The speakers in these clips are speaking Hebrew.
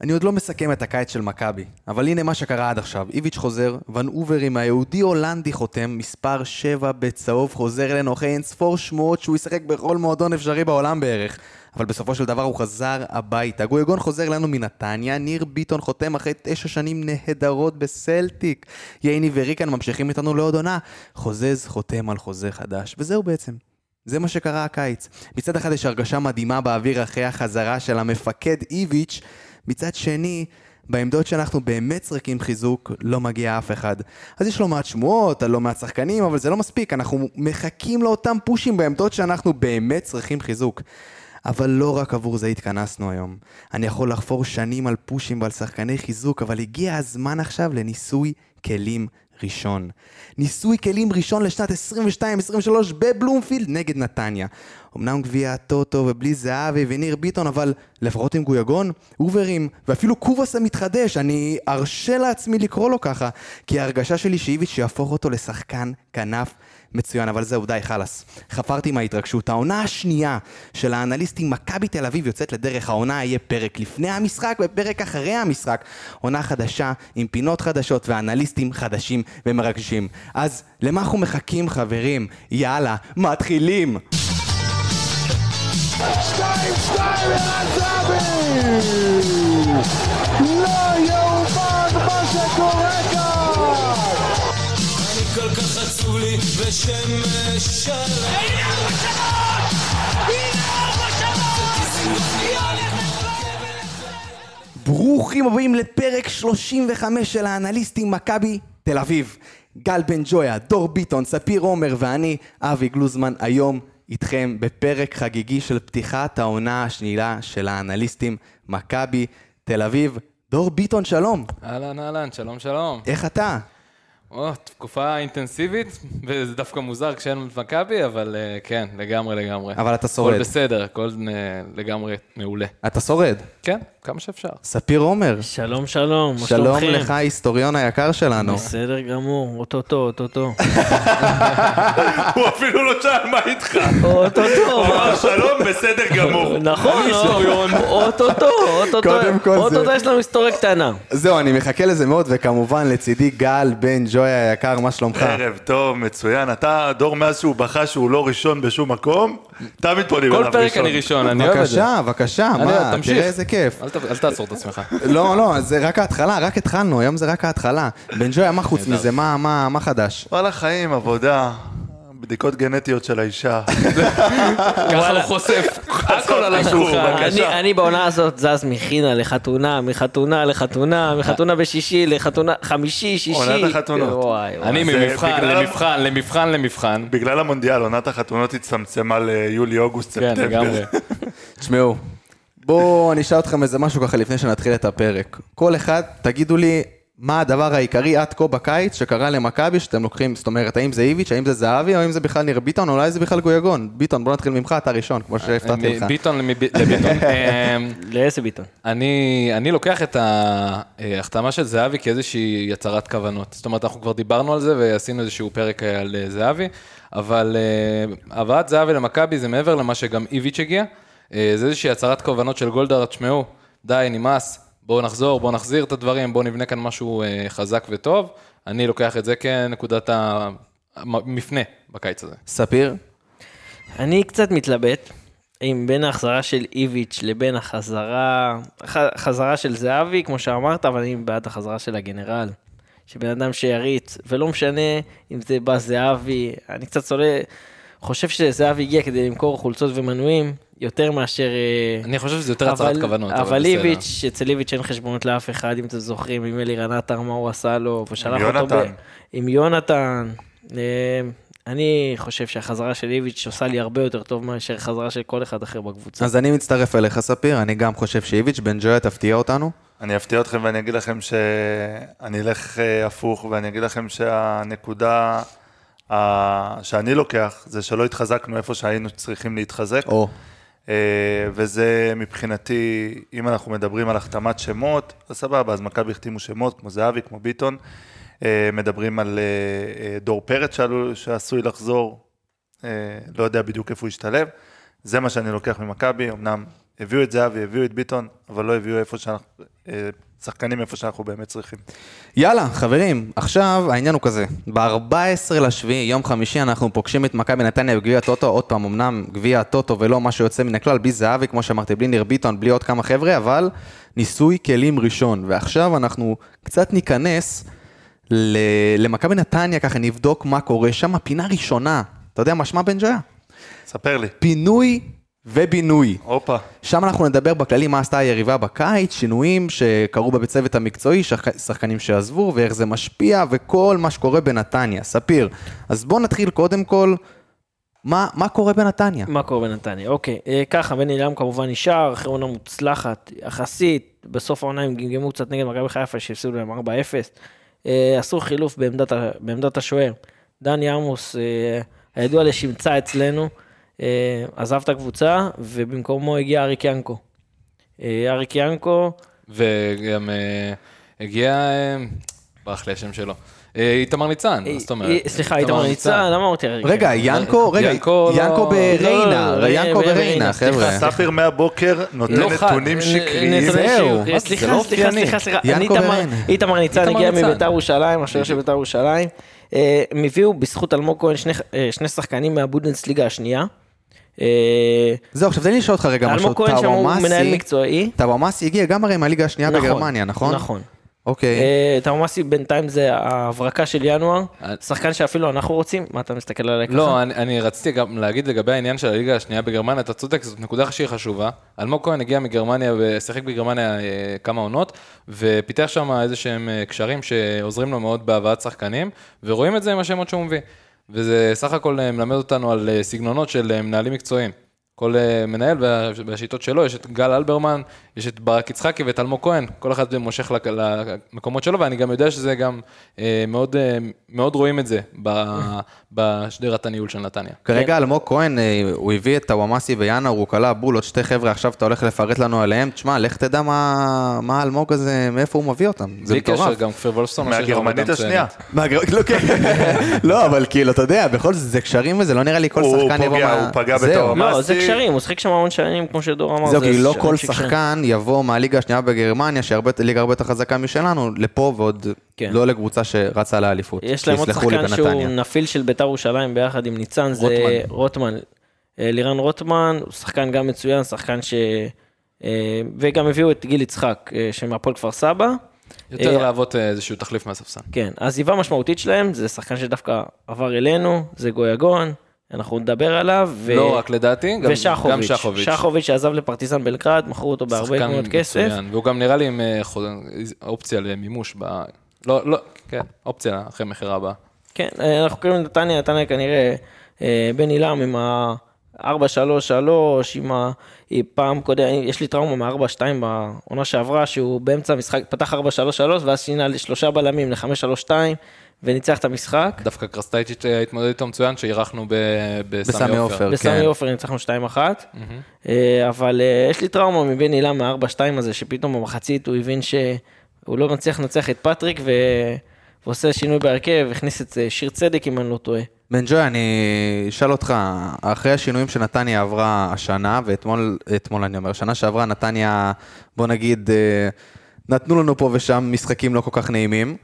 אני עוד לא מסכם את הקיץ של מכבי, אבל הנה מה שקרה עד עכשיו. איביץ' חוזר, ון אוברים היהודי-הולנדי חותם, מספר 7 בצהוב חוזר אלינו אחרי אין ספור שמועות שהוא ישחק בכל מועדון אפשרי בעולם בערך. אבל בסופו של דבר הוא חזר הביתה. גויגון חוזר לנו מנתניה, ניר ביטון חותם אחרי תשע שנים נהדרות בסלטיק. ייני וריקן ממשיכים איתנו לעוד עונה. חוזז חותם על חוזה חדש, וזהו בעצם. זה מה שקרה הקיץ. מצד אחד יש הרגשה מדהימה באוויר אחרי החזרה של המפקד איביץ', מצד שני, בעמדות שאנחנו באמת צריכים חיזוק, לא מגיע אף אחד. אז יש לא מעט שמועות על לא מעט שחקנים, אבל זה לא מספיק, אנחנו מחכים לאותם פושים בעמדות שאנחנו באמת צריכים חיזוק. אבל לא רק עבור זה התכנסנו היום. אני יכול לחפור שנים על פושים ועל שחקני חיזוק, אבל הגיע הזמן עכשיו לניסוי כלים ראשון. ניסוי כלים ראשון לשנת 22-23 בבלומפילד נגד נתניה. אמנם גביע הטוטו ובלי זהבי וניר ביטון, אבל לפחות עם גויגון, אוברים, ואפילו קובאס המתחדש, אני ארשה לעצמי לקרוא לו ככה, כי ההרגשה שלי שאיביץ' יהפוך אותו לשחקן כנף מצוין, אבל זהו, די, חלאס. חפרתי מההתרגשות. העונה השנייה של האנליסטים מכבי תל אביב יוצאת לדרך. העונה יהיה פרק לפני המשחק ופרק אחרי המשחק. עונה חדשה עם פינות חדשות ואנליסטים חדשים ומרגשים. אז למה אנחנו מחכים, חברים? יאללה, מתחילים! שתיים, שתיים, ערן זהבי! לא יאומן מה שקורה כאן! אני כל כך עצוב לי ושמש עליי הנה ארבע שמות! הנה ארבע שמות! היא הולכת ברוכים הבאים לפרק 35 של האנליסטים מכבי תל אביב. גל בן ג'ויה, דור ביטון, ספיר עומר ואני, אבי גלוזמן, היום איתכם בפרק חגיגי של פתיחת העונה השנייה של האנליסטים מכבי תל אביב. דור ביטון, שלום. אהלן, אהלן, שלום, שלום. איך אתה? או, תקופה אינטנסיבית, וזה דווקא מוזר כשאין מכבי, אבל אה, כן, לגמרי, לגמרי. אבל אתה שורד. הכל בסדר, הכל אה, לגמרי מעולה. אתה שורד. כן, כמה שאפשר. ספיר עומר, שלום, שלום, מה שלום שלומכם? לך, היסטוריון היקר שלנו. בסדר גמור, אוטוטו, אוטוטו. הוא אפילו לא שאל מה איתך. אוטוטו, הוא אמר שלום, בסדר גמור. נכון, אה, לא? אוטוטו, אוטוטו, קודם כל זה- אוטוטו יש לנו היסטוריה קטנה. זהו, אני מחכה לזה מאוד, וכמובן לצידי גל בן ג'ויה היקר, מה שלומך? ערב טוב, מצוין. אתה, דור, מאז שהוא בכה שהוא לא ראשון בשום מקום, תמיד פונים כל אליו פרק ראשון. אני ראשון, אני אוהב את זה. בבקשה, בבקשה, אני מה, אוהב, תמשיך. תראה איזה כיף. אל ת- אל תעצור את עצמך. לא, לא, זה רק ההתחלה, רק התחלנו, היום זה רק ההתחלה. בן ג'ויה, מה חוץ מזה? מה- מה מה חדש? וואלה, חיים, עבודה, בדיקות גנטיות של האישה. ככה הוא חושף, הכל על השולחן. אני- אני בעונה הזאת זז מחינה לחתונה, מחתונה לחתונה, מחתונה בשישי לחתונה חמישי, שישי. עונת החתונות. וואי, וואי. אני זה ממבחן בגלל- למבחן למבחן למבחן. בגלל המונדיאל, עונת החתונות הצטמצמה ליולי, אוגוסט, כן, לגמרי. ספטמבר. תשמעו, בואו אני אשאל אתכם איזה משהו ככה לפני שנתחיל את הפרק. כל אחד, תגידו לי מה הדבר העיקרי עד כה בקיץ שקרה למכבי שאתם לוקחים, זאת אומרת, האם זה איביץ', האם זה זהבי, או אם זה בכלל ניר ביטון, אולי זה בכלל גויגון. ביטון, בוא נתחיל ממך, אתה ראשון, אה, כמו שהפתעתי לך. ביטון למב- לביטון. אמ, לאיזה ביטון? אני, אני לוקח את ההחתמה של זהבי כאיזושהי הצהרת כוונות. זאת אומרת, אנחנו כבר דיברנו על זה ועשינו איזשהו פרק אה, על אה, זהבי, אבל אה, הבאת זהבי למכבי זה מעבר למה שגם איביץ' הגיע. אה, זה איזושהי הצהרת כוונות של גולדהר, תשמעו, די, נמאס, בואו נחזור, בואו נחזיר את הדברים, בואו נבנה כאן משהו אה, חזק וטוב. אני לוקח את זה כנקודת ה- המפנה בקיץ הזה. ספיר? אני קצת מתלבט אם בין ההחזרה של איביץ' לבין החזרה, ח- חזרה של זהבי, כמו שאמרת, אבל אני בעד החזרה של הגנרל. שבן אדם שיריץ, ולא משנה אם זה בא זהבי, אני קצת צולה, חושב שזהבי הגיע כדי למכור חולצות ומנויים, יותר מאשר... אה, אני חושב שזה יותר הצהרת אבל- כוונות, אבל אבל בסדר. איביץ', אצל איביץ' אין חשבונות לאף אחד, אם אתם זוכרים, עם אלירן עטר, מה הוא עשה לו, ושלח אותו... יונתן. ב- עם יונתן. אה, אני חושב שהחזרה של איביץ' עושה לי הרבה יותר טוב מאשר חזרה של כל אחד אחר בקבוצה. אז אני מצטרף אליך, ספיר, אני גם חושב שאיביץ', בן ג'ויה תפתיע אותנו. אני אפתיע אתכם ואני אגיד לכם שאני אלך אה, הפוך ואני אגיד לכם שהנקודה ה- שאני לוקח זה שלא התחזקנו איפה שהיינו צריכים להתחזק. או. אה, וזה מבחינתי, אם אנחנו מדברים על החתמת שמות, אז סבבה, אז מכבי החתימו שמות כמו זהבי, כמו ביטון. אה, מדברים על אה, אה, דור פרץ שעלול- שעשוי לחזור, אה, לא יודע בדיוק איפה הוא ישתלב. זה מה שאני לוקח ממכבי, אמנם הביאו את זהבי, הביאו את ביטון, אבל לא הביאו איפה שאנחנו, אה, שחקנים איפה שאנחנו באמת צריכים. יאללה, חברים, עכשיו העניין הוא כזה. ב-14 לשביעי, יום חמישי, אנחנו פוגשים את מכבי נתניה בגביע הטוטו, עוד פעם, אמנם גביע הטוטו ולא מה שיוצא מן הכלל, בלי זהבי, כמו שאמרתי, בלי ניר ביטון, בלי עוד כמה חבר'ה, אבל ניסוי כלים ראשון. ועכשיו אנחנו קצת ניכנס ל- למכבי נתניה, ככה נבדוק מה קורה שם, פינה ראשונה. אתה יודע מה שמה בן ג'ויה? ספר לי. פינוי ובינוי. הופה. שם אנחנו נדבר בכללי מה עשתה היריבה בקיץ, שינויים שקרו בבית צוות המקצועי, שחק- שחקנים שעזבו ואיך זה משפיע וכל מה שקורה בנתניה. ספיר, אז בואו נתחיל קודם כל, מה, מה קורה בנתניה? מה קורה בנתניה? אוקיי, אה, ככה, בני לם כמובן נשאר, אחרי עונה מוצלחת, יחסית, בסוף העונה הם גמגמו קצת נגד מכבי חיפה שהפסידו להם 4-0. אה, עשו חילוף בעמדת, ה- בעמדת השוער. דני עמוס, אה, הידוע לשמצה אצלנו, אה, עזב את הקבוצה, ובמקומו הגיע אריק ינקו. אה, אריק ינקו, וגם אה, הגיע, אה, ברח לי השם שלו, אה, איתמר ניצן, מה זאת אה, אומרת? אה, סליחה, איתמר ניצן, למה אמרתי אריק ינקו? רגע, ינקו, רגע, ינקו לא- ינקו בריינה, אה, לא, לא, ינקו בריינה, בריינה, סליחה, חבר'ה. ספיר מהבוקר נותן לא חד. נתונים שקריים. נתוני זהו. שיעור. מה זה, זה לא סליחה, סליחה, אופייני. סליחה, סליחה. אני ינקו איתמר- בריינה. איתמר ניצן איתמר הגיע ניצן. מביתר ירושלים, השוער של ביתר ירושלים. אה, הם הביאו בזכות אלמוג כהן שני- אה, שני שחקנים מהבודנסליגה השנייה. אה, זהו, עכשיו תן לי לשאול אותך רגע משהו. אלמוג כהן שם הוא מנהל מקצועי. טאוואמאסי הגיע גם הרי מהליגה השנייה נכון, בגרמניה, נכון? נכון. אוקיי. אה, תאומאסי בינתיים זה ההברקה של ינואר, אה. שחקן שאפילו אנחנו רוצים, מה אתה מסתכל עליי ככה? לא, אני, אני רציתי גם להגיד לגבי העניין של הליגה השנייה בגרמניה, אתה צודק, זאת נקודה שהיא חשובה. אלמוג כהן הגיע מגרמניה, ו- שיחק בגרמניה אה, כמה עונות, ופיתח שם איזה שהם אה, קשרים שעוזרים לו מאוד בהבאת שחקנים, ורואים את זה עם השמות שהוא מביא. וזה סך הכל אה, מלמד אותנו על אה, סגנונות של אה, מנהלים מקצועיים. כל אה, מנהל וה- והשיטות שלו, יש את גל אלברמן, יש את ברק יצחקי ואת אלמוג כהן, כל אחד מושך לק- למקומות שלו, ואני גם יודע שזה גם אה, מאוד, אה, מאוד רואים את זה ב- בשדרת הניהול של נתניה. כרגע אלמוג כהן, אה, הוא הביא את טאוואמאסי וינאור, הוא כלה בול, עוד שתי חבר'ה, עכשיו אתה הולך לפרט לנו עליהם. תשמע, לך תדע מה מה אלמוג הזה, מאיפה הוא מביא אותם. זה בלי קשר, מטורף. גם כפיר וולפסון. עושה שם מהגרמנית עבודה השנייה. מצוינת. מה, גר- לא, כן. לא, אבל כאילו, אתה יודע, בכל זאת זה קשרים וזה, לא נראה לי כל הוא שחקן יבוא פוגע, מה... הוא פגע זהו. בתור לא, זה תאומאסי- קשרים, הוא שיחק שם המון שנים, כמו שדור אמר. זהו, כי לא ש- כל שקשרים. שחקן יבוא מהליגה השנייה בגרמניה, שהיא הרבה- ליגה הרבה יותר חזקה משלנו, לפה ועוד כן. לא לקבוצה שרצה לאליפות. יש להם עוד שיסלחו לי שחקן שהוא בנתניה. נפיל של ביתר ירושלים ביחד עם ניצן, זה רוטמן. רוטמן. אה, לירן רוטמן, הוא שחקן גם מצוין, שחקן ש... אה, וגם הביאו את גיל יצחק, אה, שמהפועל כפר סבא. יותר אה, להוות אה, איזשהו תחליף מהספסל. כן, העזיבה המשמעותית שלהם, זה שחקן שדווקא עבר אלינו, זה גויגון, אנחנו נדבר עליו. ו- לא רק לדעתי, גם- ושחוביץ'. גם שחוביץ'. שחוביץ' שעזב לפרטיזן בלגרד, מכרו אותו בהרבה שחקן מאוד כסף. מצוין, והוא גם נראה לי עם אה, חוז- אופציה למימוש ב... לא, לא, כן, אופציה אחרי מכירה הבאה. כן, אה, אנחנו קוראים לנתניה, נתניה כנראה אה, בן עילם עם ה... 433 עם ה... היא פעם קודם, יש לי טראומה מ-4-2 בעונה שעברה, שהוא באמצע המשחק פתח 433 ואז שינה לשלושה בלמים ל-532 וניצח את המשחק. דווקא קרסטייצ'יץ' אה, התמודד איתו מצוין, שאירחנו ב- בסמי בסמי עופר. עופר. אוקיי. בסמי כן. עופר ניצחנו 2-1, אה, אבל אה, יש לי טראומה מבן עילם מה-4-2 הזה, שפתאום במחצית הוא הבין שהוא לא מצליח לנצח את פטריק ו... ועושה שינוי בהרכב, הכניס את אה, שיר צדק אם אני לא טועה. בן ג'וי, אני אשאל אותך, אחרי השינויים שנתניה עברה השנה, ואתמול, אתמול אני אומר, שנה שעברה נתניה, בוא נגיד, אה, נתנו לנו פה ושם משחקים לא כל כך נעימים.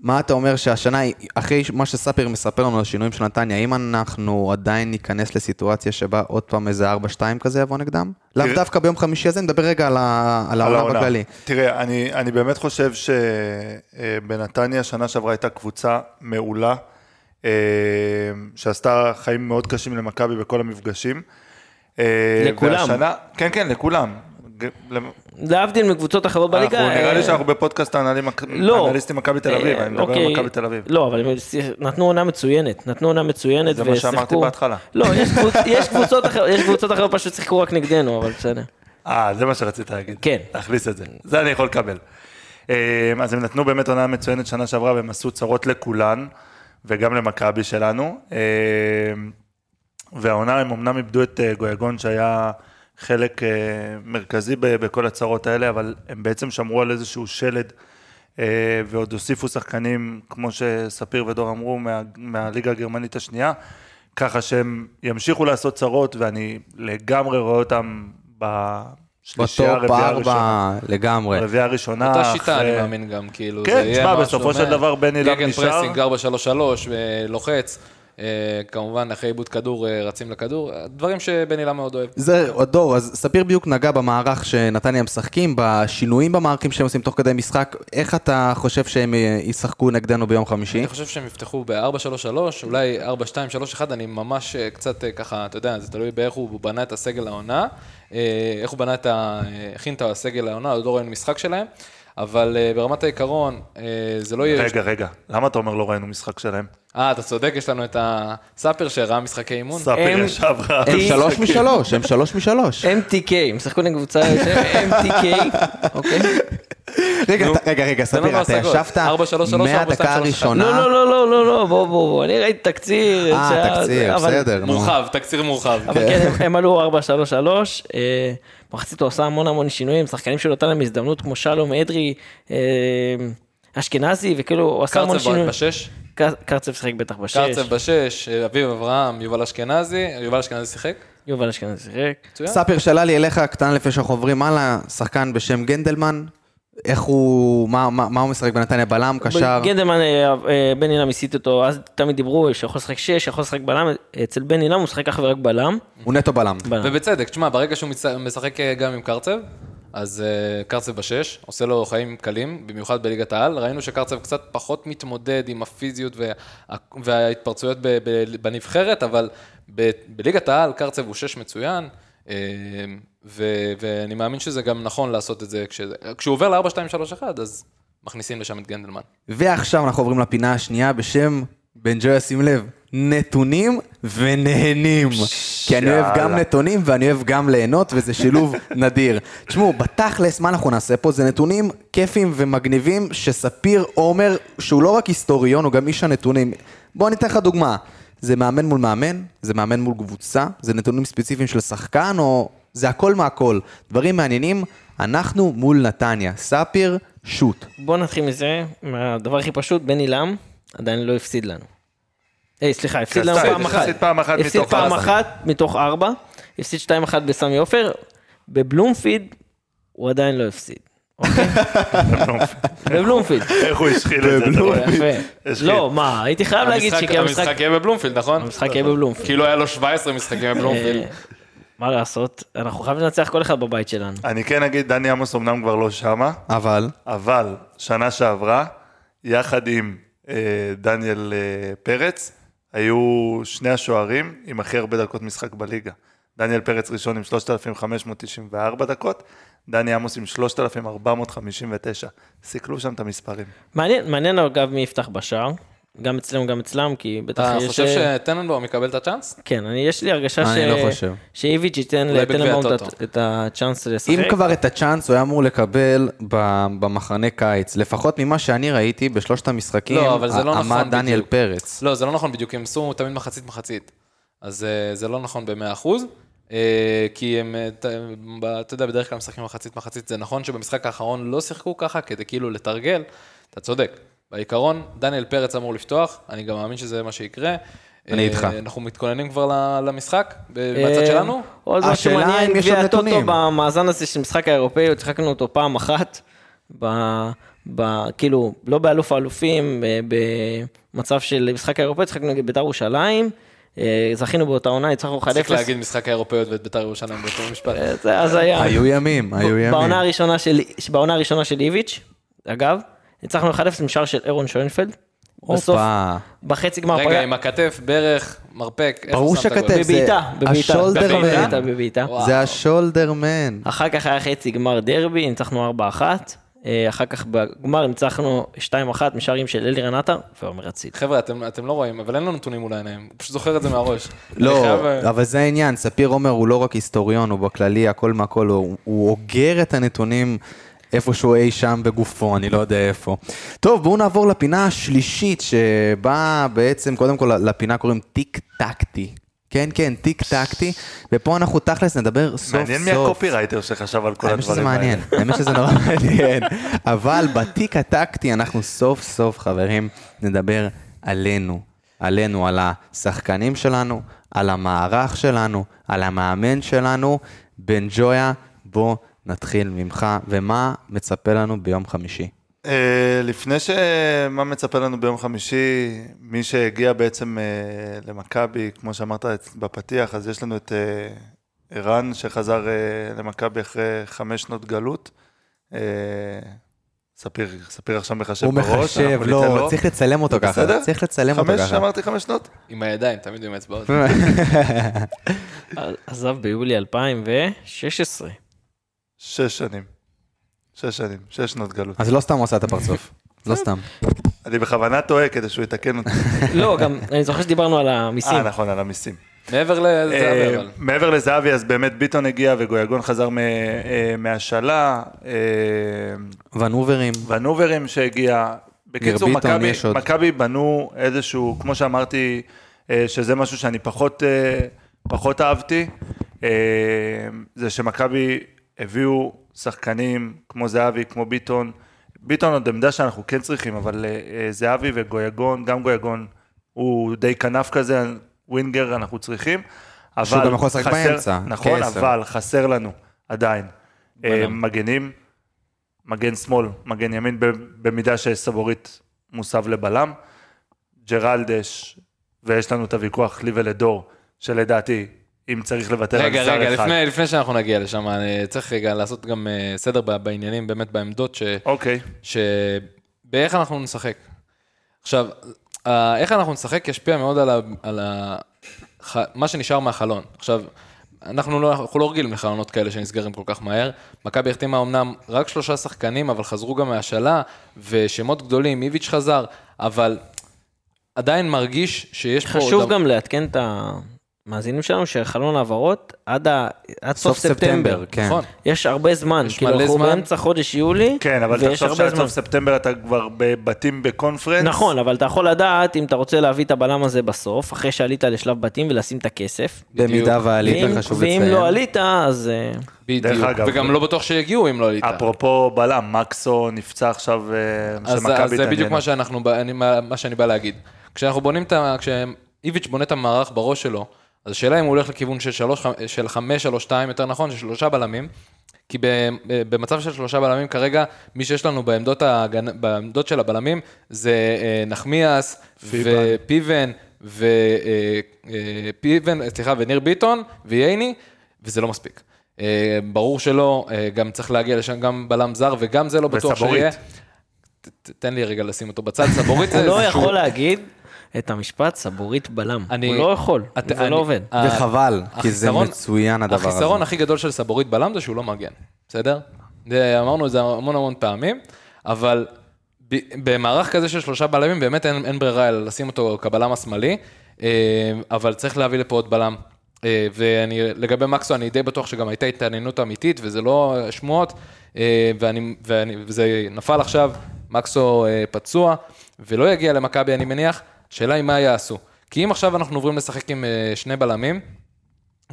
מה אתה אומר שהשנה, אחרי מה שספיר מספר לנו על השינויים של נתניה, האם אנחנו עדיין ניכנס לסיטואציה שבה עוד פעם איזה 4-2 כזה יבוא נגדם? לאו תראה- דווקא ביום חמישי הזה, נדבר רגע על ה- על על העונה בכללי. תראה, אני, אני באמת חושב שבנתניה, שנה שעברה הייתה קבוצה מעולה, אה, שעשתה חיים מאוד קשים למכבי בכל המפגשים. אה, לכולם. והשנה, כן, כן, לכולם. ג- למ- להבדיל מקבוצות אחרות בליגה. אנחנו- נראה אה, לי שאנחנו בפודקאסט האנלים- לא. האנליסטים מכבי תל אביב, אה, אני מדבר אוקיי. על מכבי תל אביב. לא, אבל הם נתנו עונה מצוינת, נתנו עונה מצוינת זה מה שאמרתי ושיחקו- בהתחלה. לא, יש קבוצ- יש קבוצות אחרות, יש קבוצות אחרות פשוט שיחקו רק נגדנו, אבל בסדר. אה, זה מה שרצית להגיד. כן. להכניס את זה. זה אני יכול לקבל. אה, אז הם נתנו באמת עונה מצוינת שנה שעברה, והם עשו צרות לכולן, וגם למכבי שלנו. אה, והעונה, הם אמנם איבדו את אה, גויגון, שהיה חלק אה, מרכזי ב- בכל הצרות האלה, אבל הם בעצם שמרו על איזשהו שלד, אה, ועוד הוסיפו שחקנים, כמו שספיר ודור אמרו, מה- מהליגה הגרמנית השנייה, ככה שהם ימשיכו לעשות צרות, ואני לגמרי רואה אותם ב- שלישייה, בטופ רביעייה ראשונה. ארבע לגמרי. רביעייה ראשונה. אותה שיטה, אחרי- אני מאמין גם, כאילו, כן, זה יהיה תשמע, משהו, בסופו של מה- דבר בן אילן גגן נשאר. פרסינג, 4-3-3, אה, לוחץ. אה, כמובן, אחרי עיבוד כדור, אה, רצים לכדור. דברים שבן אילן מאוד אוהב. זה, דור, אז ספיר בדיוק נגע במערך שנתניה משחקים, בשינויים במערכים שהם עושים תוך כדי משחק, איך אתה חושב שהם אה, ישחקו נגדנו ביום חמישי? אני חושב שהם יפתחו ב-4-3-3, אולי 4-2-3-1, אני ממש אה, קצת אה, ככה, אתה יודע, זה תלוי באיך הוא בנה את הסגל העונה, אה, איך הוא בנה את ה... אה, הכין את הסגל העונה, עוד לא ראינו משחק שלהם, אבל אה, ברמת העיקרון, אה, זה לא יהיה... רגע, רגע, למה אתה אומר לא ראינו משחק שלהם? אה, אתה צודק, יש לנו את הסאפר שראה משחקי אימון. ספיר הם- ישב רע. הם שלוש משלוש, הם שלוש אה, משלוש. MTK, הם שחקו נגד קבוצה בשם MTK, אוקיי? אה, רגע, אתה- רגע, רגע, תן לנו ספיר, אתה השגות. ישבת לא ארבע, שלוש, שלוש, ארבע, מהדקה שתיים, שלוש, לא, אחד. הראשונה. לא, לא, לא, לא, לא, לא, בוא, בוא, בוא, אני ראיתי תקציר. אה, שהיה- תקציר, אבל- בסדר. נו. מורחב, תקציר מורחב. אבל כן, הם- הם עלו 4-3-3, אה, מחצית הוא עשה המון המון שינויים, שחקנים שהוא נתן להם הזדמנות כמו שלום אדרי, אה, אשכנזי, וכאילו הוא עשה המון קרצב שינויים. בשש, קר- קרצב שיחק בטח בשש, קרצב בשש, אה, אביב אברהם, יובל אשכנזי, יובל אשכנזי שיחק. יובל אשכנזי שיחק. ספיר שלל אליך הקטן לפני שאנחנו עוברים הלאה, שחקן בשם גנדלמן, איך הוא, מה- מה מה הוא משחק בנתניה, בלם, קשר? גנדלמן, אה, אה, בן אילם הסיט אותו, אז תמיד דיברו שיכול לשחק שש, יכול לשחק בלם, אצל בן אילם הוא משחק אך ורק בלם. הוא נטו בלם. בלם. ובצדק, תשמע, ברגע שהוא מצ- משחק אה, גם עם קרצב, אז אה, קרצב בשש, עושה לו חיים קלים, במיוחד בליגת העל. ראינו שקרצב קצת פחות מתמודד עם הפיזיות וה- וההתפרצויות ב- ב- בנבחרת, אבל ב- בליגת העל קרצב הוא שש מצוין. אה, ו- ואני מאמין שזה גם נכון לעשות את זה, כשזה- כשהוא עובר ל-4-2-3-1, אז מכניסים לשם את גנדלמן. ועכשיו אנחנו עוברים לפינה השנייה בשם, בן ג'ויה שים לב, נתונים ונהנים. כי אני אוהב גם יאללה. נתונים ואני אוהב גם ליהנות, וזה שילוב נדיר. תשמעו, בתכלס, מה אנחנו נעשה פה? זה נתונים כיפים ומגניבים שספיר עומר, שהוא לא רק היסטוריון, הוא גם איש הנתונים. בואו אני אתן לך דוגמה. זה מאמן מול מאמן, זה מאמן מול קבוצה, זה נתונים ספציפיים של שחקן, או... זה הכל מהכל. דברים מעניינים, אנחנו מול נתניה. ספיר, שוט. בוא נתחיל מזה, מהדבר הכי פשוט, בן אילם עדיין לא הפסיד לנו. היי, סליחה, הפסיד כן, לנו הפסיד, פעם אחת. הפסיד פעם אחת הפסיד מתוך פעם ארבע. אחת מתוך ארבע, הפסיד 2-1 בסמי עופר, בבלומפיד הוא עדיין לא הפסיד. בבלומפיד. איך הוא השחיל את זה? אתה רואה? יפה. השחיל. לא, מה, הייתי חייב להגיד המשחק- שכי המשחק... המשחק יהיה בבלומפילד, נכון? המשחק יהיה בבלומפילד. כאילו היה לו 17 משחקים בבלומפילד. אה, מה לעשות, אנחנו חייבים לנצח כל אחד בבית שלנו. אני כן אגיד, דני עמוס אמנם כבר לא שמה, אבל... אבל שנה שעברה, יחד עם אה, דניאל אה, פרץ, היו שני השוערים עם הכי הרבה דקות משחק בליגה. דניאל פרץ ראשון עם 3,594 דקות, דני עמוס עם 3,459. סיכלו שם את המספרים. מעניין, מעניין אגב מי יפתח בשער, גם אצלנו גם אצלם, כי בטח אתה יש... חושב אה, שטננבאום יקבל את הצ'אנס? כן, אני, יש לי הרגשה אני לא חושב. שאיביץ' ייתן אולי לטננבאום בגביע את, הטוטו. את הצ'אנס לשחק. אם כבר את הצ'אנס הוא היה אמור לקבל ב- במחנה קיץ, לפחות ממה שאני ראיתי בשלושת המשחקים, לא, אבל זה לא ע- נכון עמד דניאל בדיוק. פרץ. לא, זה לא נכון בדיוק, הם עשו תמיד מחצית מחצית. אז אה, זה לא נכון ב-100%, אה, כי הם, אה, ת- הם ב- אתה יודע, בדרך כלל משחקים מחצית מחצית, זה נכון שבמשחק האחרון לא שיחקו ככה כדי כאילו לתרגל, אתה צודק. בעיקרון, דניאל פרץ אמור לפתוח, אני גם מאמין שזה מה שיקרה. אני אה, איתך. אנחנו מתכוננים כבר ל- למשחק, ב- אה, מהצד שלנו. עוד משהו השאלה מעניין, אם יש גביע עוד הטוטו נתונים. במאזן הזה של משחק האירופאי, עוד שיחקנו אותו פעם אחת, ב, ב, כאילו, לא באלוף האלופים, אה, במצב של משחק האירופאי, שיחקנו נגד בית"ר ירושלים, אה, זכינו באותה עונה, ניצחנו 1-0. צריך להגיד משחק האירופאיות ואת בית"ר ירושלים באותו משפט. אה, זה אז היה. היו ימים, היו ימים. בעונה הראשונה של, בעונה הראשונה של איביץ', אגב, ניצחנו 1-0 עם שער של אירון שוינפלד. בסוף, הופה. בחצי גמר רגע, פגע- עם הכתף, ברך, מרפק, איך אה, ברור הוא שם את הגול? שהכתף. בבעיטה, זה בבעיטה, השולדר בבעיטה, מן. בבעיטה. וואו. זה השולדרמן. אחר כך היה חצי גמר דרבי, ניצחנו 4-1. אה, אחר כך בגמר ניצחנו 2-1 משערים של אלירן עטר ועומר אצילי. חבר'ה, אתם, אתם לא רואים, אבל אין לו נתונים מול העיניים, הוא פשוט זוכר את זה מהראש. אני לא, חייב- אה, אבל זה העניין, ספיר עומר הוא לא רק היסטוריון, הוא בכללי, הכל מהכל, הוא- הוא אוגר את הנתונים איפשהו אי שם בגופו, אני לא יודע איפה. טוב, בואו נעבור לפינה השלישית, שבה בעצם, קודם כל, לפינה קוראים טיק טקטי. כן, כן, טיק טקטי, ופה אנחנו תכלס נדבר סוף סוף. מעניין מי הקופירייטר שחשב על כל האמת שזה הדברים האלה. מעניין, האמת שזה נורא מעניין, אבל בתיק הטקטי אנחנו סוף סוף, חברים, נדבר עלינו, עלינו, על השחקנים שלנו, על המערך שלנו, על המאמן שלנו, בן ג'ויה, בוא נתחיל ממך, ומה מצפה לנו ביום חמישי? אה, לפני ש... מה מצפה לנו ביום חמישי, מי שהגיע בעצם אה, למכבי, כמו שאמרת אצ- בפתיח, אז יש לנו את אה, ערן, שחזר אה, למכבי אחרי חמש שנות גלות. אה, ספיר, ספיר עכשיו מחשב הוא בראש. מחשב, אנחנו ניתן לא, לו. צריך לצלם אותו ככה. בסדר? צריך לצלם אותו חמש, ככה. אמרתי חמש שנות? עם הידיים, תמיד עם האצבעות. אה, עזב ביולי 2016. שש שנים. שש שנים, שש שנות גלות. אז לא סתם הוא עשה את הפרצוף. לא סתם. אני בכוונה טועה כדי שהוא יתקן אותי. לא, גם, אני זוכר שדיברנו על המיסים. אה, נכון, על המיסים. מעבר לזהבי, אה, אבל. מעבר לזהבי, אז באמת ביטון הגיע וגויגון חזר מ- אה, מהשאלה, אה, ונוברים. ונוברים שהגיע. בקיצור, ביטון, מכבי- יש עוד. מכבי בנו איזשהו, כמו שאמרתי, אה, שזה משהו שאני פחות, אה, פחות אהבתי, אה, זה שמכבי הביאו שחקנים כמו זהבי, כמו ביטון. ביטון עוד עמדה שאנחנו כן צריכים, אבל אה, אה, זהבי וגויגון, גם גויגון הוא די כנף כזה, ווינגר אנחנו צריכים. אבל שהוא גם יכול לשחק חסר- באמצע, נכון, כעשר. אבל חסר לנו עדיין. אה, מגנים, מגן שמאל, מגן ימין, ב- במידה שסבורית מוסב לבלם. ג'רלדש, ויש לנו את הוויכוח לי ולדור, שלדעתי, אם צריך לוותר על רגע, שר רגע, אחד. לפני- לפני שאנחנו נגיע לשם, אני צריך רגע לעשות גם אה, סדר ב- בעניינים, באמת בעמדות, ש- אוקיי, ש- באיך אנחנו נשחק. עכשיו, אה, איך אנחנו נשחק ישפיע מאוד על ה- על ה- ח- מה שנשאר מהחלון. עכשיו, אנחנו לא, אנחנו לא רגילים לחלונות כאלה שנסגרים כל כך מהר. מכבי החתימה אמנם רק שלושה שחקנים, אבל חזרו גם מהשאלה, ושמות גדולים, איביץ' חזר, אבל עדיין מרגיש שיש פה... חשוב עוד- נכון. גם לעדכן את המאזינים שלנו שחלון העברות עד ה- עד סוף ספטמבר. כן. נכון. יש הרבה זמן, יש כאילו מלא אנחנו זמן. באמצע חודש יולי, כן, אבל ויש תחשוב הרבה שעד זמן. סוף ספטמבר אתה כבר בבתים בקונפרנס. נכון, אבל אתה יכול לדעת אם אתה רוצה להביא את הבלם הזה בסוף, אחרי שעלית לשלב בתים ולשים את הכסף. במידה ועלית, ואם- חשוב ואם לציין. לא עלית, אז... אה, בדיוק, כן. דרך אגב. וגם לא בטוח שיגיעו אם לא עלית. אפרופו בלם, מקסו נפצע עכשיו, אה, אז, שמכבי אז זה התעניינה. בדיוק מה, שאנחנו, בא- אני, מה, מה שאני בא להגיד. כשאנחנו בונים את ה... כשאיביץ' בונה את המערך בראש שלו, אז השאלה אם הוא הולך לכיוון של, שלוש, של חמש, שלוש, שתיים, יותר נכון, של שלושה בלמים, כי ב- במצב של שלושה בלמים כרגע, מי שיש לנו בעמדות, ההגנ... בעמדות של הבלמים זה אה, נחמיאס ופיבן ופיבן, אה, סליחה, וניר ביטון וייני, וזה לא מספיק. אה, ברור שלא, אה, גם צריך להגיע לשם גם בלם זר וגם זה לא בטוח וסבורית. שיהיה. ת- ת- תן לי רגע לשים אותו בצד, סבורית זה הוא לא איזשהו- יכול להגיד את המשפט סבורית בלם. אני- הוא לא יכול, את- זה אני- לא עובד. ה- וחבל, כי זה החיסרון- מצוין הדבר הזה. החיסרון הכי גדול של סבורית בלם זה שהוא לא מגן, בסדר? זה- אמרנו את זה המון המון פעמים, אבל ב- במערך כזה של שלושה בלמים באמת אין, אין ברירה אלא לשים אותו כבלם השמאלי, אה, אבל צריך להביא לפה עוד בלם. אה, ואני, לגבי מקסו, אני די בטוח שגם הייתה התעניינות אמיתית, וזה לא שמועות, אה, ואני, ואני, וזה נפל עכשיו, מקסו אה, פצוע, ולא יגיע למכבי, אני מניח, השאלה היא מה יעשו. כי אם עכשיו אנחנו עוברים לשחק עם אה, שני בלמים,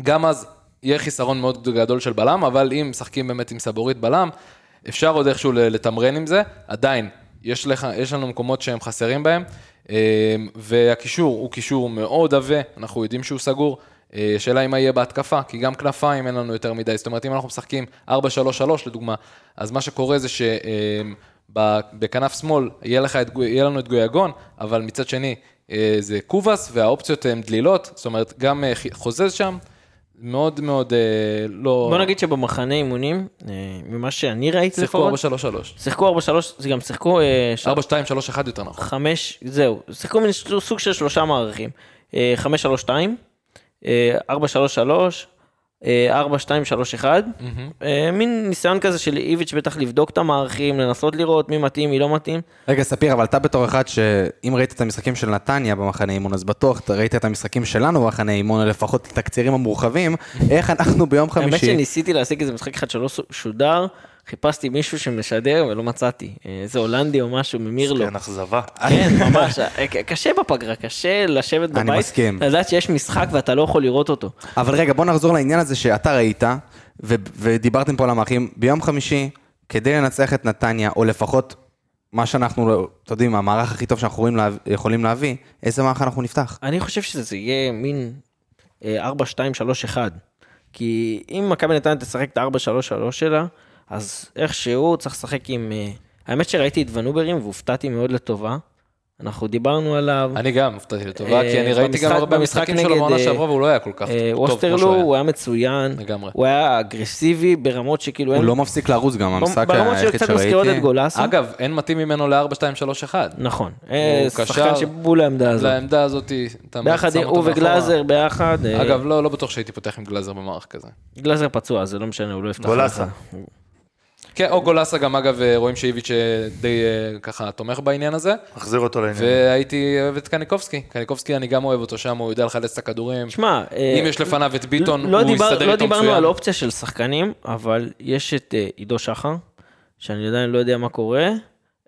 גם אז יהיה חיסרון מאוד גדול של בלם, אבל אם משחקים באמת עם סבורית בלם, אפשר עוד איכשהו ל- לתמרן עם זה, עדיין, יש, לך, יש לנו מקומות שהם חסרים בהם, אה, והקישור הוא קישור מאוד עבה, אנחנו יודעים שהוא סגור. אה, השאלה היא מה יהיה בהתקפה, כי גם כנפיים אין לנו יותר מדי. זאת אומרת, אם אנחנו משחקים 4-3-3 לדוגמה, אז מה שקורה זה ש... אה, ב- בכנף שמאל יהיה, לך את, גו- יהיה לנו את גויגון, אבל מצד שני אה, זה קובאס והאופציות הן דלילות, זאת אומרת גם אה, חי- חוזז שם, מאוד מאוד אה, לא... בוא נגיד שבמחנה אימונים, אה, ממה שאני ראיתי שיחקו לפחות, 4-3-3. שיחקו 4-3, זה גם שיחקו אה, ש- 4-2-3-1 יותר נכון. חמש, זהו, שיחקו מין ש- סוג של שלושה מערכים. אה, חמש, שלוש, שתיים, אה, ארבע, שלוש, שלוש, אה, ארבע, שתיים, שלוש, אחד. אה, מין ניסיון כזה של איביץ' בטח לבדוק את המערכים, לנסות לראות מי מתאים, מי לא מתאים. רגע, ספיר, אבל אתה בתור אחד שאם ראית את המשחקים של נתניה במחנה אימון, אז בטוח אתה ראית את המשחקים שלנו במחנה אימון, לפחות את התקצירים המורחבים, איך אנחנו ביום האמת חמישי... שניסיתי להשיג איזה משחק אחד שלא ס- שודר, חיפשתי מישהו שמשדר ולא מצאתי. אה, איזה הולנדי או משהו, ממירלו. נכון. כן, אכזבה. כן, ממש, אה, ק- קשה בפגרה, קשה לשבת אני בבית. מסכים. לדעת שיש משחק ואתה לא יכול לראות אותו. אבל רגע, בוא נחזור לעניין הזה שאתה ראית, ו- ודיברתם פה על המאחים, ביום חמישי, כדי לנצח את נתניה, או לפחות מה שאנחנו, אתה יודעים, המערך הכי טוב שאנחנו יכולים להב- יכולים להביא, איזה מערך אנחנו נפתח? אני חושב שזה יהיה מין אה, 4-2-3-1. כי אם מכבי נתניה תשחק את ה-4-3-3 שלה, אז איכשהו צריך לשחק עם... אה, האמת שראיתי את ונוברים והופתעתי מאוד לטובה. אנחנו דיברנו עליו. אני גם הופתעתי לטובה, אה, כי אני אוקיי. אה, ראיתי גם במשחק- הרבה במשחק משחקים שלו נגד, בעונה אה, שעברה, והוא לא היה כל כך אה, טוב כמו ווסטרלו, שהוא היה. הוא היה מצוין. לגמרי. הוא היה אגרסיבי ברמות שכאילו... הוא אין- לא מפסיק לרוץ גם, המשחק ברמות היחיד שקצת מזכירות את שראיתי. גולאסה. אגב, אין מתאים ממנו ל-4, 2, 3, 1. נכון. אה, הוא שחקן קשר. שבול לעמדה הזאת. לעמדה הזאת, אתה אוקיי. ביחד, שם אותו הוא מאחורה. וגלאזר ביחד. אה, אגב, לא לא בטוח שהייתי פותח עם גלאזר במערך כזה. גלאזר פצוע, זה לא משנה, הוא לא יפתח. גולאסה. לך. כן, או גולסה גם, אגב, רואים שאיביץ' אה, די אה, ככה תומך בעניין הזה. מחזיר אותו לעניין. כן. והייתי אוהב את קניקובסקי. קניקובסקי, אני גם אוהב אותו שם, הוא יודע לחלץ את הכדורים. תשמע, אה, אם יש לפניו את ביטון, לא הוא דיבר- יסתדר לא איתו דיברנו מצוין. על אופציה של שחקנים, אבל יש את אה, עידו שחר, שאני עדיין לא יודע מה קורה.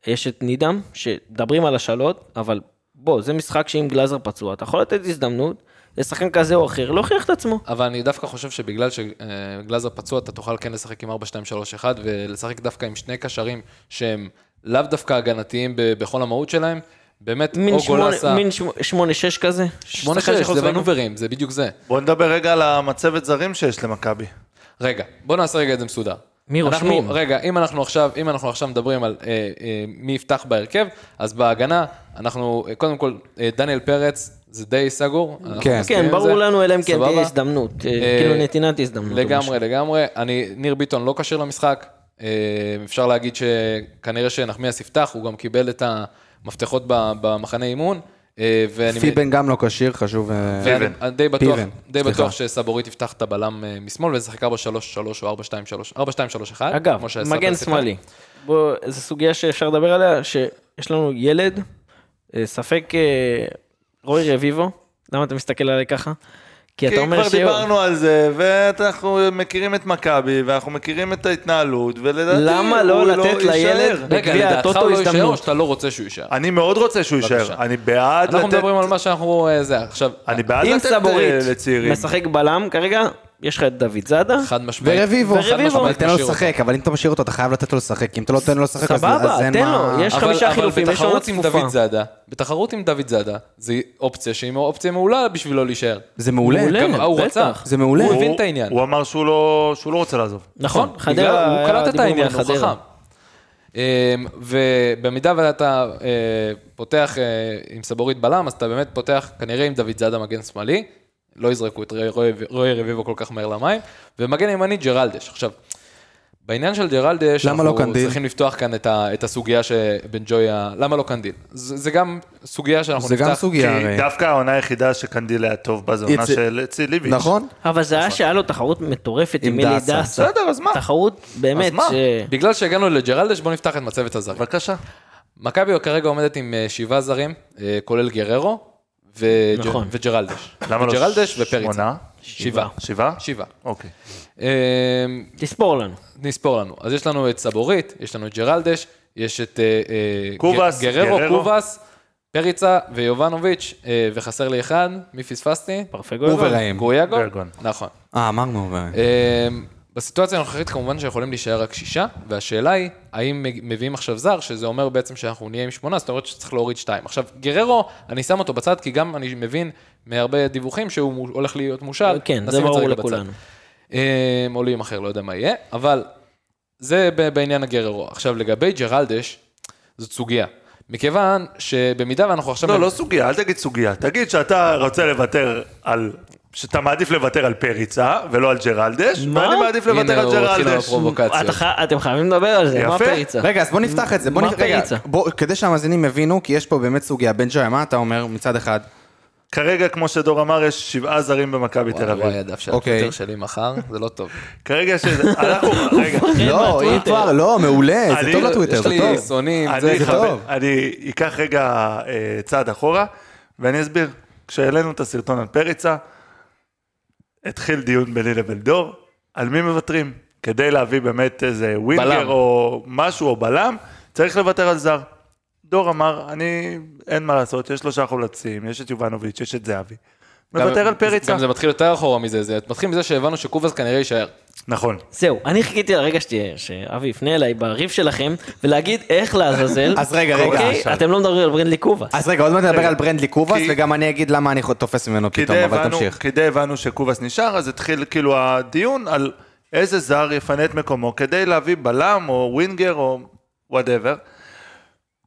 יש את נידם, שמדברים על השאלות, אבל בוא, זה משחק שאם גלאזר פצוע, אתה יכול לתת הזדמנות לשחקן כזה או אחר להוכיח את עצמו. אבל אני דווקא חושב שבגלל שגלאזר פצוע, אתה תוכל כן לשחק עם 4, 2, 3, 1, ולשחק דווקא עם שני קשרים שהם לאו דווקא הגנתיים ב- בכל המהות שלהם. באמת, מין או גולסה, שמונה- מין שמונה- שמונה שש כזה. 8, שחקן 6, שיכול זה לשחק- ונוברים, זה בדיוק זה. בואו נדבר רגע על המצבת זרים שיש למכבי. רגע, בוא נעשה רגע את זה מסודר. מי אנחנו- רושמים? רגע, אם אנחנו עכשיו, אם אנחנו עכשיו מדברים על אה, אה, מי יפתח בהרכב, אז בהגנה, אנחנו, אה, קודם כל, אה, דניאל פרץ, זה די סגור. אנחנו כן. מסכימים כן, עם ברור זה. לנו, אלא אם כן תהיה סבבה? הזדמנות. אה, אה, כאילו נתינת הזדמנות. או משהו. לגמרי, לגמרי. אני, ניר ביטון לא כשיר למשחק. אה, אפשר להגיד שכנראה שנחמיאס יפתח, הוא גם קיבל את המפתחות ב- במחנה אימון. אה, ואני- פיבן גם לא כשיר, חשוב... אה, ואני אני די בטוח, פיבן, די סליחה. בטוח שסבורית יפתח את הבלם אה, משמאל ולשחק 4-3-3 או 4-2-3, 4-2-3-1. אגב, כמו שסבא מגן שיחק. שמאלי. בוא, זו סוגיה שאפשר לדבר עליה, שיש לנו ילד, אה, ספק אה, רוי רביבו, למה אתה מסתכל עליי ככה? כי אתה כי אומר כבר ש... דיברנו על זה, ואנחנו מכירים את מכבי, ואנחנו מכירים את ההתנהלות, ולדעתי למה לא הוא לתת יישאר. לילד- רגע, בגביע לדעתך הטוטו הוא לא יישאר או הזדמנות. שאתה לא רוצה שהוא יישאר? אני מאוד רוצה שהוא יישאר, בבקשה. אני בעד אנחנו לתת... מדברים על מה שאנחנו... אה, זה, עכשיו, אני בעד אם לתת סבורית אה, לצעירים. משחק בלם כרגע, יש לך את דוד זאדה, חד משמעית. ורביבו, חד משמעית אבל תן לו משאיר אותו. לשחק, אבל אם אתה משאיר אותו, אתה חייב לתת לו לשחק, אם אתה לא נותן לו לשחק, אז סבבה, אז אין תן מה... לו, יש אבל- חמישה חילופים, אבל יש עונה בתחרות עם צפופה. דוד זאדה, בתחרות עם דוד זאדה, זו אופציה שהיא אופציה מעולה בשבילו להישאר. זה מעולה, מעולה. גם הוא בטח. רצה. זה מעולה. הוא הוא- הבין את העניין. הוא אמר שהוא לא שהוא לא רוצה לעזוב. נכון, כן, בגלל- חדרה, הוא קלט את דיברו העניין, על הוא חדרה. חכם. אמ, ובמידה ואתה אה, פותח אה, עם סבורית בלם, אז אתה באמת פותח כנראה עם דוד זאדה מגן שמאלי, לא יזרקו את רוי- רוי- רוי רביבו כל כך מהר למים, ומגן ימני ג'רלדש. עכשיו, בעניין של ג'רלדש, למה לא קנדיל? צריכים לפתוח כאן את, ה, את הסוגיה שבן ג'ויה, למה לא קנדיל? זה, זה גם סוגיה שאנחנו זה נפתח. גם סוגיה כי הרי. דווקא העונה היחידה שקנדיל היה טוב בה, זו עונה איציק- של אצל ליביץ'. נכון? אבל זה היה שהיה לו תחרות מטורפת עם עם מילי דסה. דסה. בסדר, אז מה? תחרות באמת מה? ש... בגלל שהגענו לג'רלדש, בואו נפתח את מצבת הזרים. בבקשה. מכבי כרגע עומדת עם אה, שבעה זרים, אה, כולל גררו וג'- נכון. וג'רלדש. למה לא? ג'רלדש ופריצה. שמונה? שבעה. שבעה? שבעה. אוקיי. אה, תספור לנו. נספור לנו. אז יש לנו את סבורית, יש לנו את ג'רלדש, יש את אה, אה, קובאס, ג- גררו, גררו. קובאס, פריצה ויובנוביץ', אה, וחסר לי אחד, מי פספסתי? פרפגו. וראם. גויאגו? גרגון. נכון. אה, אמרנו, ו- אמ, בסיטואציה הנוכחית כמובן שיכולים להישאר רק שישה, והשאלה היא, האם מג- מביאים עכשיו זר, שזה אומר בעצם שאנחנו נהיה עם שמונה, זאת אומרת שצריך להוריד שתיים. עכשיו, גררו, אני שם אותו בצד, כי גם אני מבין מהרבה דיווחים שהוא מו- הולך להיות מושל. כן, זה נשים את ברור רגע בצד. לכולנו. אמ, או להימכר, לא יודע מה יהיה, אבל זה ב- בעניין הגררו. עכשיו, לגבי ג'רלדש, זאת סוגיה. מכיוון שבמידה ואנחנו עכשיו... לא, לא סוגיה, אל תגיד סוגיה. תגיד שאתה רוצה לוותר על... שאתה מעדיף לוותר על פריצה ולא על ג'רלדש, מה? ואני מעדיף הנה, לוותר על הוא התחיל עם ג'רלדש. הפרובוקציות. אתה חי- אתם חייבים לדבר על זה, מה יפה. הפריצה? רגע, אז בוא נפתח את זה. בוא אה, מה נפ- רגע, הפריצה? בוא- כדי שהמאזינים יבינו, כי יש פה באמת סוגיה. בן ג'וי, מה אתה אומר מצד אחד? כרגע, כמו שדור אמר, יש שבעה זרים במכבי תל וואי, וואי, אביב. הדף של הטוויטר שלי מחר, זה לא טוב. כרגע ש... אנחנו... רגע. לא, אם כבר, לא, מעולה, זה אני- טוב לטוויטר, יש זה לי טוב. שונאים, אני זה... זה אחבר- טוב. אני אקח רגע אה, צעד אחורה, ואני אסביר. כשהעלינו את הסרטון על פריצה, התחיל דיון ביני לבין דור, על מי מוותרים. כדי להביא באמת איזה ווינגר בלם. או משהו או בלם, צריך לוותר על זר. דור אמר, אני, אין מה לעשות, יש שלושה חולצים, יש את יובנוביץ', יש את זהבי. גם- מוותר על פריצה. גם זה מתחיל יותר אחורה מזה, זה מתחיל מזה שהבנו שקובאס כנראה יישאר. נכון. זהו, אני חיכיתי לרגע שתהיה, שאבי יפנה אליי בריב שלכם, ולהגיד איך לעזאזל. אז רגע, רגע, אוקיי, עכשיו. אתם לא מדברים על ברנדלי קובאס. אז רגע, עוד מעט נדבר על ברנדלי קובאס, כי- וגם אני אגיד למה אני תופס ממנו פתאום, כדי אבל הבנו, תמשיך. כדי הבנו שקובאס נשאר, אז התחיל כאילו הדיון על איזה זר יפנה את מקומו כדי להביא בלם או ווינגר או וואטאבר.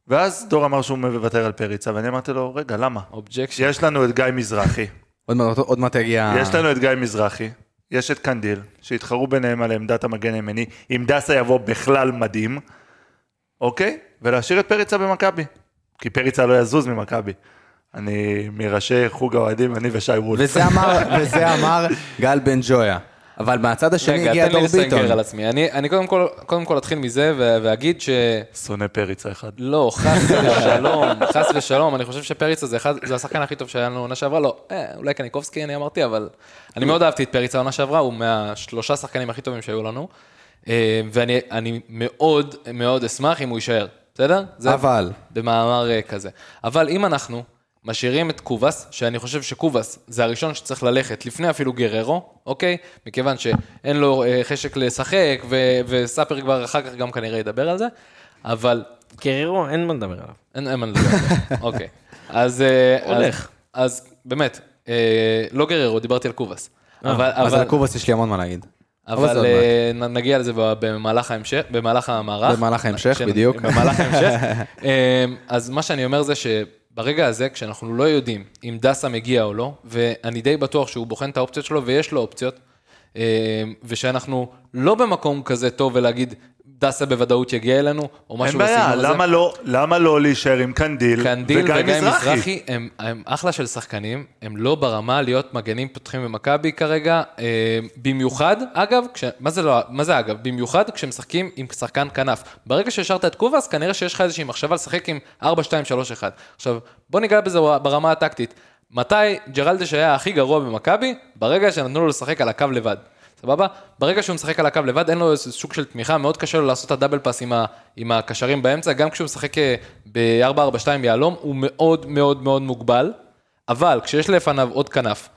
ואז דור אמר שהוא מוותר על פריצה, ואני אמרתי לו, רגע, למה? אובג'קשן. יש לנו את גיא מזרחי, עוד מעט- עוד מעט יגיע... יש לנו את גיא מזרחי, יש את קנדיל, שהתחרו ביניהם על עמדת המגן הימני, אם דסה יבוא בכלל מדהים, אוקיי? ולהשאיר את פריצה במכבי, כי פריצה לא יזוז ממכבי. אני מראשי חוג האוהדים, אני ושי וולף. וזה אמר, וזה אמר גל בן ג'ויה. אבל מהצד השני רגע, הגיע תן לי דור ביטון. לסנגר על עצמי. אני אני קודם כל- קודם כל אתחיל מזה ו- ואגיד ש... שונא פריצה אחד. לא, חס ושלום, חס ושלום, אני חושב שפריצה זה אחד- זה השחקן הכי טוב שהיה לנו עונה שעברה, לא, אה, אולי קניקובסקי אני אמרתי, אבל אני מאוד אהבתי את פריצה העונה שעברה, הוא מהשלושה שחקנים הכי טובים שהיו לנו, אה, ואני אני מאוד מאוד אשמח אם הוא יישאר, בסדר? זה אבל. במאמר אה, כזה. אבל אם אנחנו משאירים את קובאס, שאני חושב שקובאס זה הראשון שצריך ללכת, לפני אפילו גררו, אוקיי? מכיוון שאין לו אה, חשק לשחק, ו- וסאפר כבר אחר כך גם כנראה ידבר על זה, אבל קררו, אין מה לדבר עליו. אין אין מה לדבר, על זה. אוקיי. אז... אה, אז- הולך. אז באמת, אה, לא גררו, דיברתי על קובאס. אבל- אז אבל- אה, על קובאס יש לי המון מה להגיד. אבל זה אבל עוד אה, נ- נגיע לזה ב- במהלך ההמשך, במהלך המערך. במהלך ההמשך, כשנ- בדיוק. במהלך ההמשך. אה, אז מה שאני אומר זה שברגע הזה, כשאנחנו לא יודעים אם דסה מגיע או לא, ואני די בטוח שהוא בוחן את האופציות שלו, ויש לו אופציות, אה, ושאנחנו לא במקום כזה טוב ולהגיד, דסה בוודאות יגיע אלינו, או משהו אין בעיה, בסגנון הזה. למה לא, למה לא להישאר עם קנדיל, קנדיל וגיא מזרחי הם, הם אחלה של שחקנים, הם לא ברמה להיות מגנים פותחים במכבי כרגע, אה, במיוחד, אגב, כש, מה, זה לא, מה זה אגב? במיוחד כשמשחקים עם שחקן כנף. ברגע שהשארת את קובאס, כנראה שיש לך איזושהי מחשבה לשחק עם 4-2-3-1. עכשיו, בוא ניגע בזה ברמה הטקטית. מתי ג'רלדש היה הכי גרוע במכבי? ברגע שנתנו לו לשחק על הקו לבד. סבבה? ברגע שהוא משחק על הקו לבד, אין לו איזה סוג של תמיכה, מאוד קשה לו לעשות את הדאבל פאס עם, ה, עם הקשרים באמצע, גם כשהוא משחק אה, ב-4-4-2 יהלום, הוא מאוד מאוד מאוד מוגבל, אבל כשיש לפניו עוד כנף,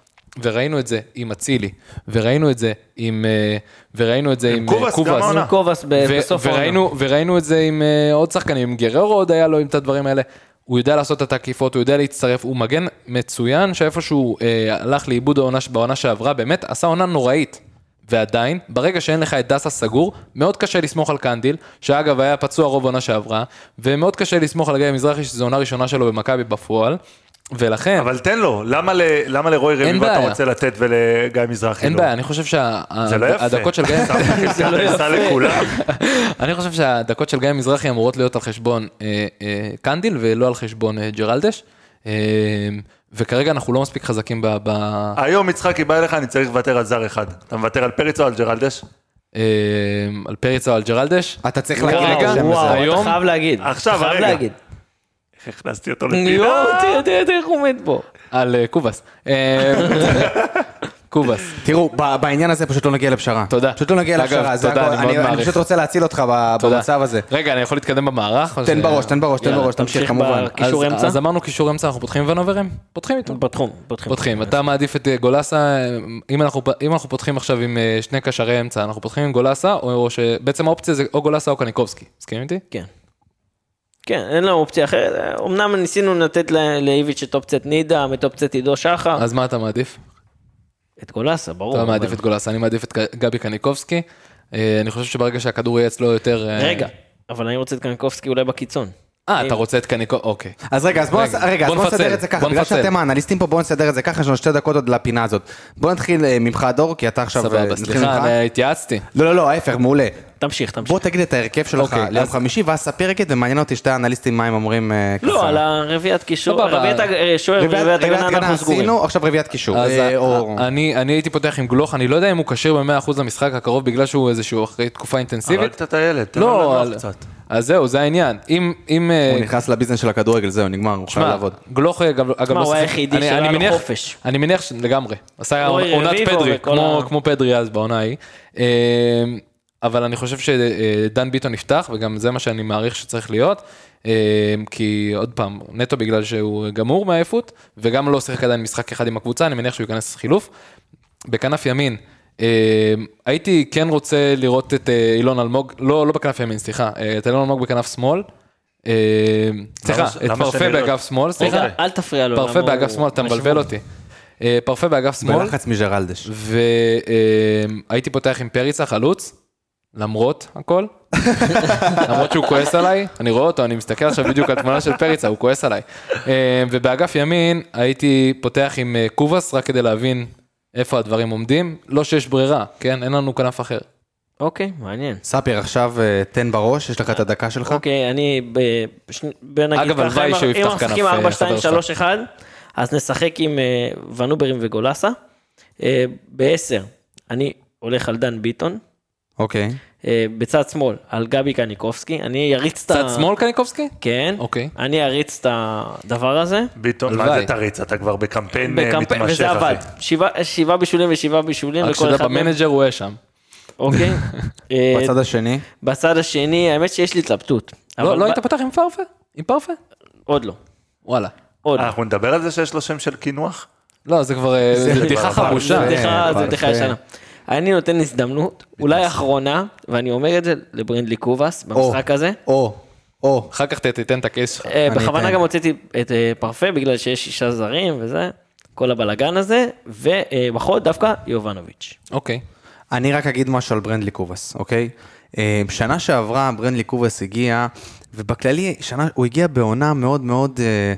וראינו את זה עם אצילי, וראינו את זה עם... אה, וראינו את זה עם, אה, קובס, גם העונה. קובאס ב- ו- בסוף העונה. וראינו, וראינו את זה עם אה, עוד שחקנים, עם גררו עוד היה לו עם את הדברים האלה. הוא יודע לעשות את העקיפות, הוא יודע להצטרף, הוא מגן מצוין, שאיפה שהוא אה, הלך לאיבוד העונה, ש- בעונה שעברה, באמת עשה עונה נוראית. ועדיין, ברגע שאין לך את דסה סגור, מאוד קשה לסמוך על קנדיל, שאגב היה פצוע רוב העונה שעברה, ומאוד קשה לסמוך על גיא מזרחי, שזו עונה ראשונה שלו במכבי בפועל, ולכן... אבל תן לו, למה, ל, למה לרוי רביבו אתה בעיה. רוצה לתת ולגיא מזרחי אין לא? בעיה, אני חושב שהדקות זה לא יפה. של גיא... זה לא יפה. לכולם. אני חושב שהדקות של גיא מזרחי אמורות להיות על חשבון אה, אה, קנדיל ולא על חשבון אה, ג'רלדש. אה, וכרגע אנחנו לא מספיק חזקים ב... ב היום יצחקי בא אליך, אני צריך לוותר על זר אחד. אתה מוותר על פריץ או על ג'רלדש? אה, על פריצה או על ג'רלדש. אתה צריך וואו, להגיד את השם וואו. הזה. היום- אתה חייב להגיד. עכשיו, אתה חייב הרגע. להגיד. הכנסתי אותו יואו, לפינה. תראה, תראה, תראה איך הוא עומד פה. על אה, קובאס. אה, קובאס. תראו, ב- בעניין הזה פשוט לא נגיע לפשרה. תודה. פשוט לא נגיע אגב, לפשרה, זה תודה, הכל. אני מאוד אני אני מעריך. פשוט רוצה להציל אותך ב- תודה. במצב הזה. רגע, אני יכול להתקדם במערך? או תן ש- בראש, תן בראש, תן יאללה, בראש, תמשיך כמובן. ב- קישור אז- אמצע? כן. אז אמרנו קישור אמצע, אנחנו פותחים ונוברים? פותחים איתו. פותחים, פותחים. פותחים, אתה מעדיף את אה, גולסה, אה, אם אנחנו, אם אנחנו פותחים עכשיו עם אה, שני קשרי אמצע, אנחנו פותחים עם גולסה, או, או שבעצם האופציה זה או גולסה או קניקובסקי, מסכים איתי? כן. כן, אין לנו אופציה אחרת. אמנם ניסינו לתת ל- לאיביץ' את אופציית נידם, את אופציית עידו שחר. אז מה אתה מעדיף? את גולסה, ברור. אתה מעדיף אבל- את גולסה, אני מעדיף את ג- גבי קניקובסקי. אה, אני חושב שברגע שהכדור יהיה אצלו יותר... אה, רגע, אבל אני רוצה את קנקובסקי אולי בקיצון. אה, אתה רוצה את קניקובסקי, אוקיי. אז רגע, אז בואו רגע, רגע, אז בוא בואו נפצל, נסדר את זה ככה, בוא בגלל נפצל. שאתם האנליסטים פה, בואו נסדר את זה ככה, יש לנו שתי דקות עוד לפינה הזאת. בואו נתחיל אה, ממך, דור, כי אתה עכשיו... אה, סבבה, נתחיל סליחה, ממך. אני התייעצתי. לא, לא, לא, ההפך, מעולה. תמשיך, תמשיך. בוא תגיד את ההרכב שלך אוקיי, ליום אז- חמישי, ואז ספר רגע, ומעניין אותי שתי האנליסטים מה הם אומרים אה, ככה. לא, על הרביעיית קישור, סבבה. רביעיית הג- אה, שוער רביעיית ורביעיית רביעיית הגנה הגנה אנחנו סגורים. עשינו, עכשיו רביעיית קישור. אז אה, ה- או- ה- אני אני הייתי פותח עם גלוך, אני לא יודע אם הוא כשיר ב-100% למשחק הקרוב בגלל שהוא איזשהו אחרי תקופה אינטנסיבית. הרגת את הילד, תן לו לא, לנוח על- קצת. אז זהו, זה העניין. אם... אם, אה, הוא נכנס לביזנס של הכדורגל, זהו, נגמר, הוא חייב שמע, לעבוד. גלוך אגב, אגב הוא שיחק- היחידי אני- שהיה אני לו מניח- חופש. אני מניח שלגמרי. עשה אוי, עונת רביבו פדרי, וכל כמו- ה- כמו פדרי אז בעונה ההיא. אה, אבל אני חושב שדן ביטון יפתח, וגם זה מה שאני מעריך שצריך להיות. אה, כי עוד פעם, נטו בגלל שהוא גמור מעייפות, וגם לא שיחק עדיין משחק אחד עם הקבוצה, אני מניח שהוא ייכנס חילוף. בכנף ימין, אה, הייתי כן רוצה לראות את אה, אילון אלמוג, לא, לא בכנף ימין, סליחה, אה, את אילון אלמוג בכנף שמאל. אה, סליחה, ש- את למה פרפה שאני לא- באגף שמאל, סליחה. רגע, אל תפריע לו. אוקיי. פרפה למה באגף הוא- שמאל, אתה מבלבל אותי. אה, פרפה באגף שמאל, בלחץ מג'רלדש. והייתי פותח עם פריצה חלוץ, למרות הכל. למרות שהוא כועס עליי, אני רואה אותו, אני מסתכל עכשיו בדיוק על תמונה של פריצה, הוא כועס עליי. אה, ובאגף ימין הייתי פותח עם אה, קובס, רק כדי להבין איפה הדברים עומדים. לא שיש ברירה, כן? אין לנו כנף אחר. אוקיי, מעניין. ספיר, עכשיו אה, תן בראש, יש לך את הדקה שלך. אוקיי, אני ב- בש- בוא נגיד אגב, הלוואי אם- שהוא יפתח כנף, אם אנחנו משחקים 4, אה, 2, חבר 3, 1, אז נשחק עם אה, ונוברים וגולסה. אה, ב-10, אני הולך על דן ביטון. אוקיי. אה, בצד שמאל, על גבי קניקובסקי. אני אריץ את ה... צד שמאל קניקובסקי? כן. אוקיי. אני אריץ את הדבר הזה. ביטון, מה הלוואי. זה תריץ? אתה כבר בקמפיין אה, בקמפיין, מתמשך, וזה עבד. אחי. שבעה- שבעה בישולים ושבעה בישולים רק לכל שאתה אחד. מהם. במנג'ר הוא יהיה שם. אוקיי. אה, בצד השני, בצד השני, האמת שיש לי התלבטות. אבל לא לא ב- היית פותח עם פרפה? עם פרפה? עוד לא. וואלה. עוד לא. אנחנו נדבר על זה שיש לו שם של קינוח? לא, זה כבר אה, זה זה בדיחה כבר עבר. חמושה. זה בדיחה- יפה. זה בדיחה ישנה. אני נותן הזדמנות, אולי אחרונה, ואני אומר את זה לברנדלי קובאס במשחק הזה. או, או, אחר כך ת- תיתן את הקייס שלך. אה, אני בכוונה אתן. גם הוצאתי את אה, פרפה בגלל שיש שישה זרים וזה, כל הבלגן הזה, ובחוד דווקא יובנוביץ'. אוקיי. אני רק אגיד משהו על ברנדלי קובאס, אוקיי? אה, שנה שעברה ברנדלי קובאס הגיע, ובכללי, שנה, הוא הגיע בעונה מאוד מאוד אה,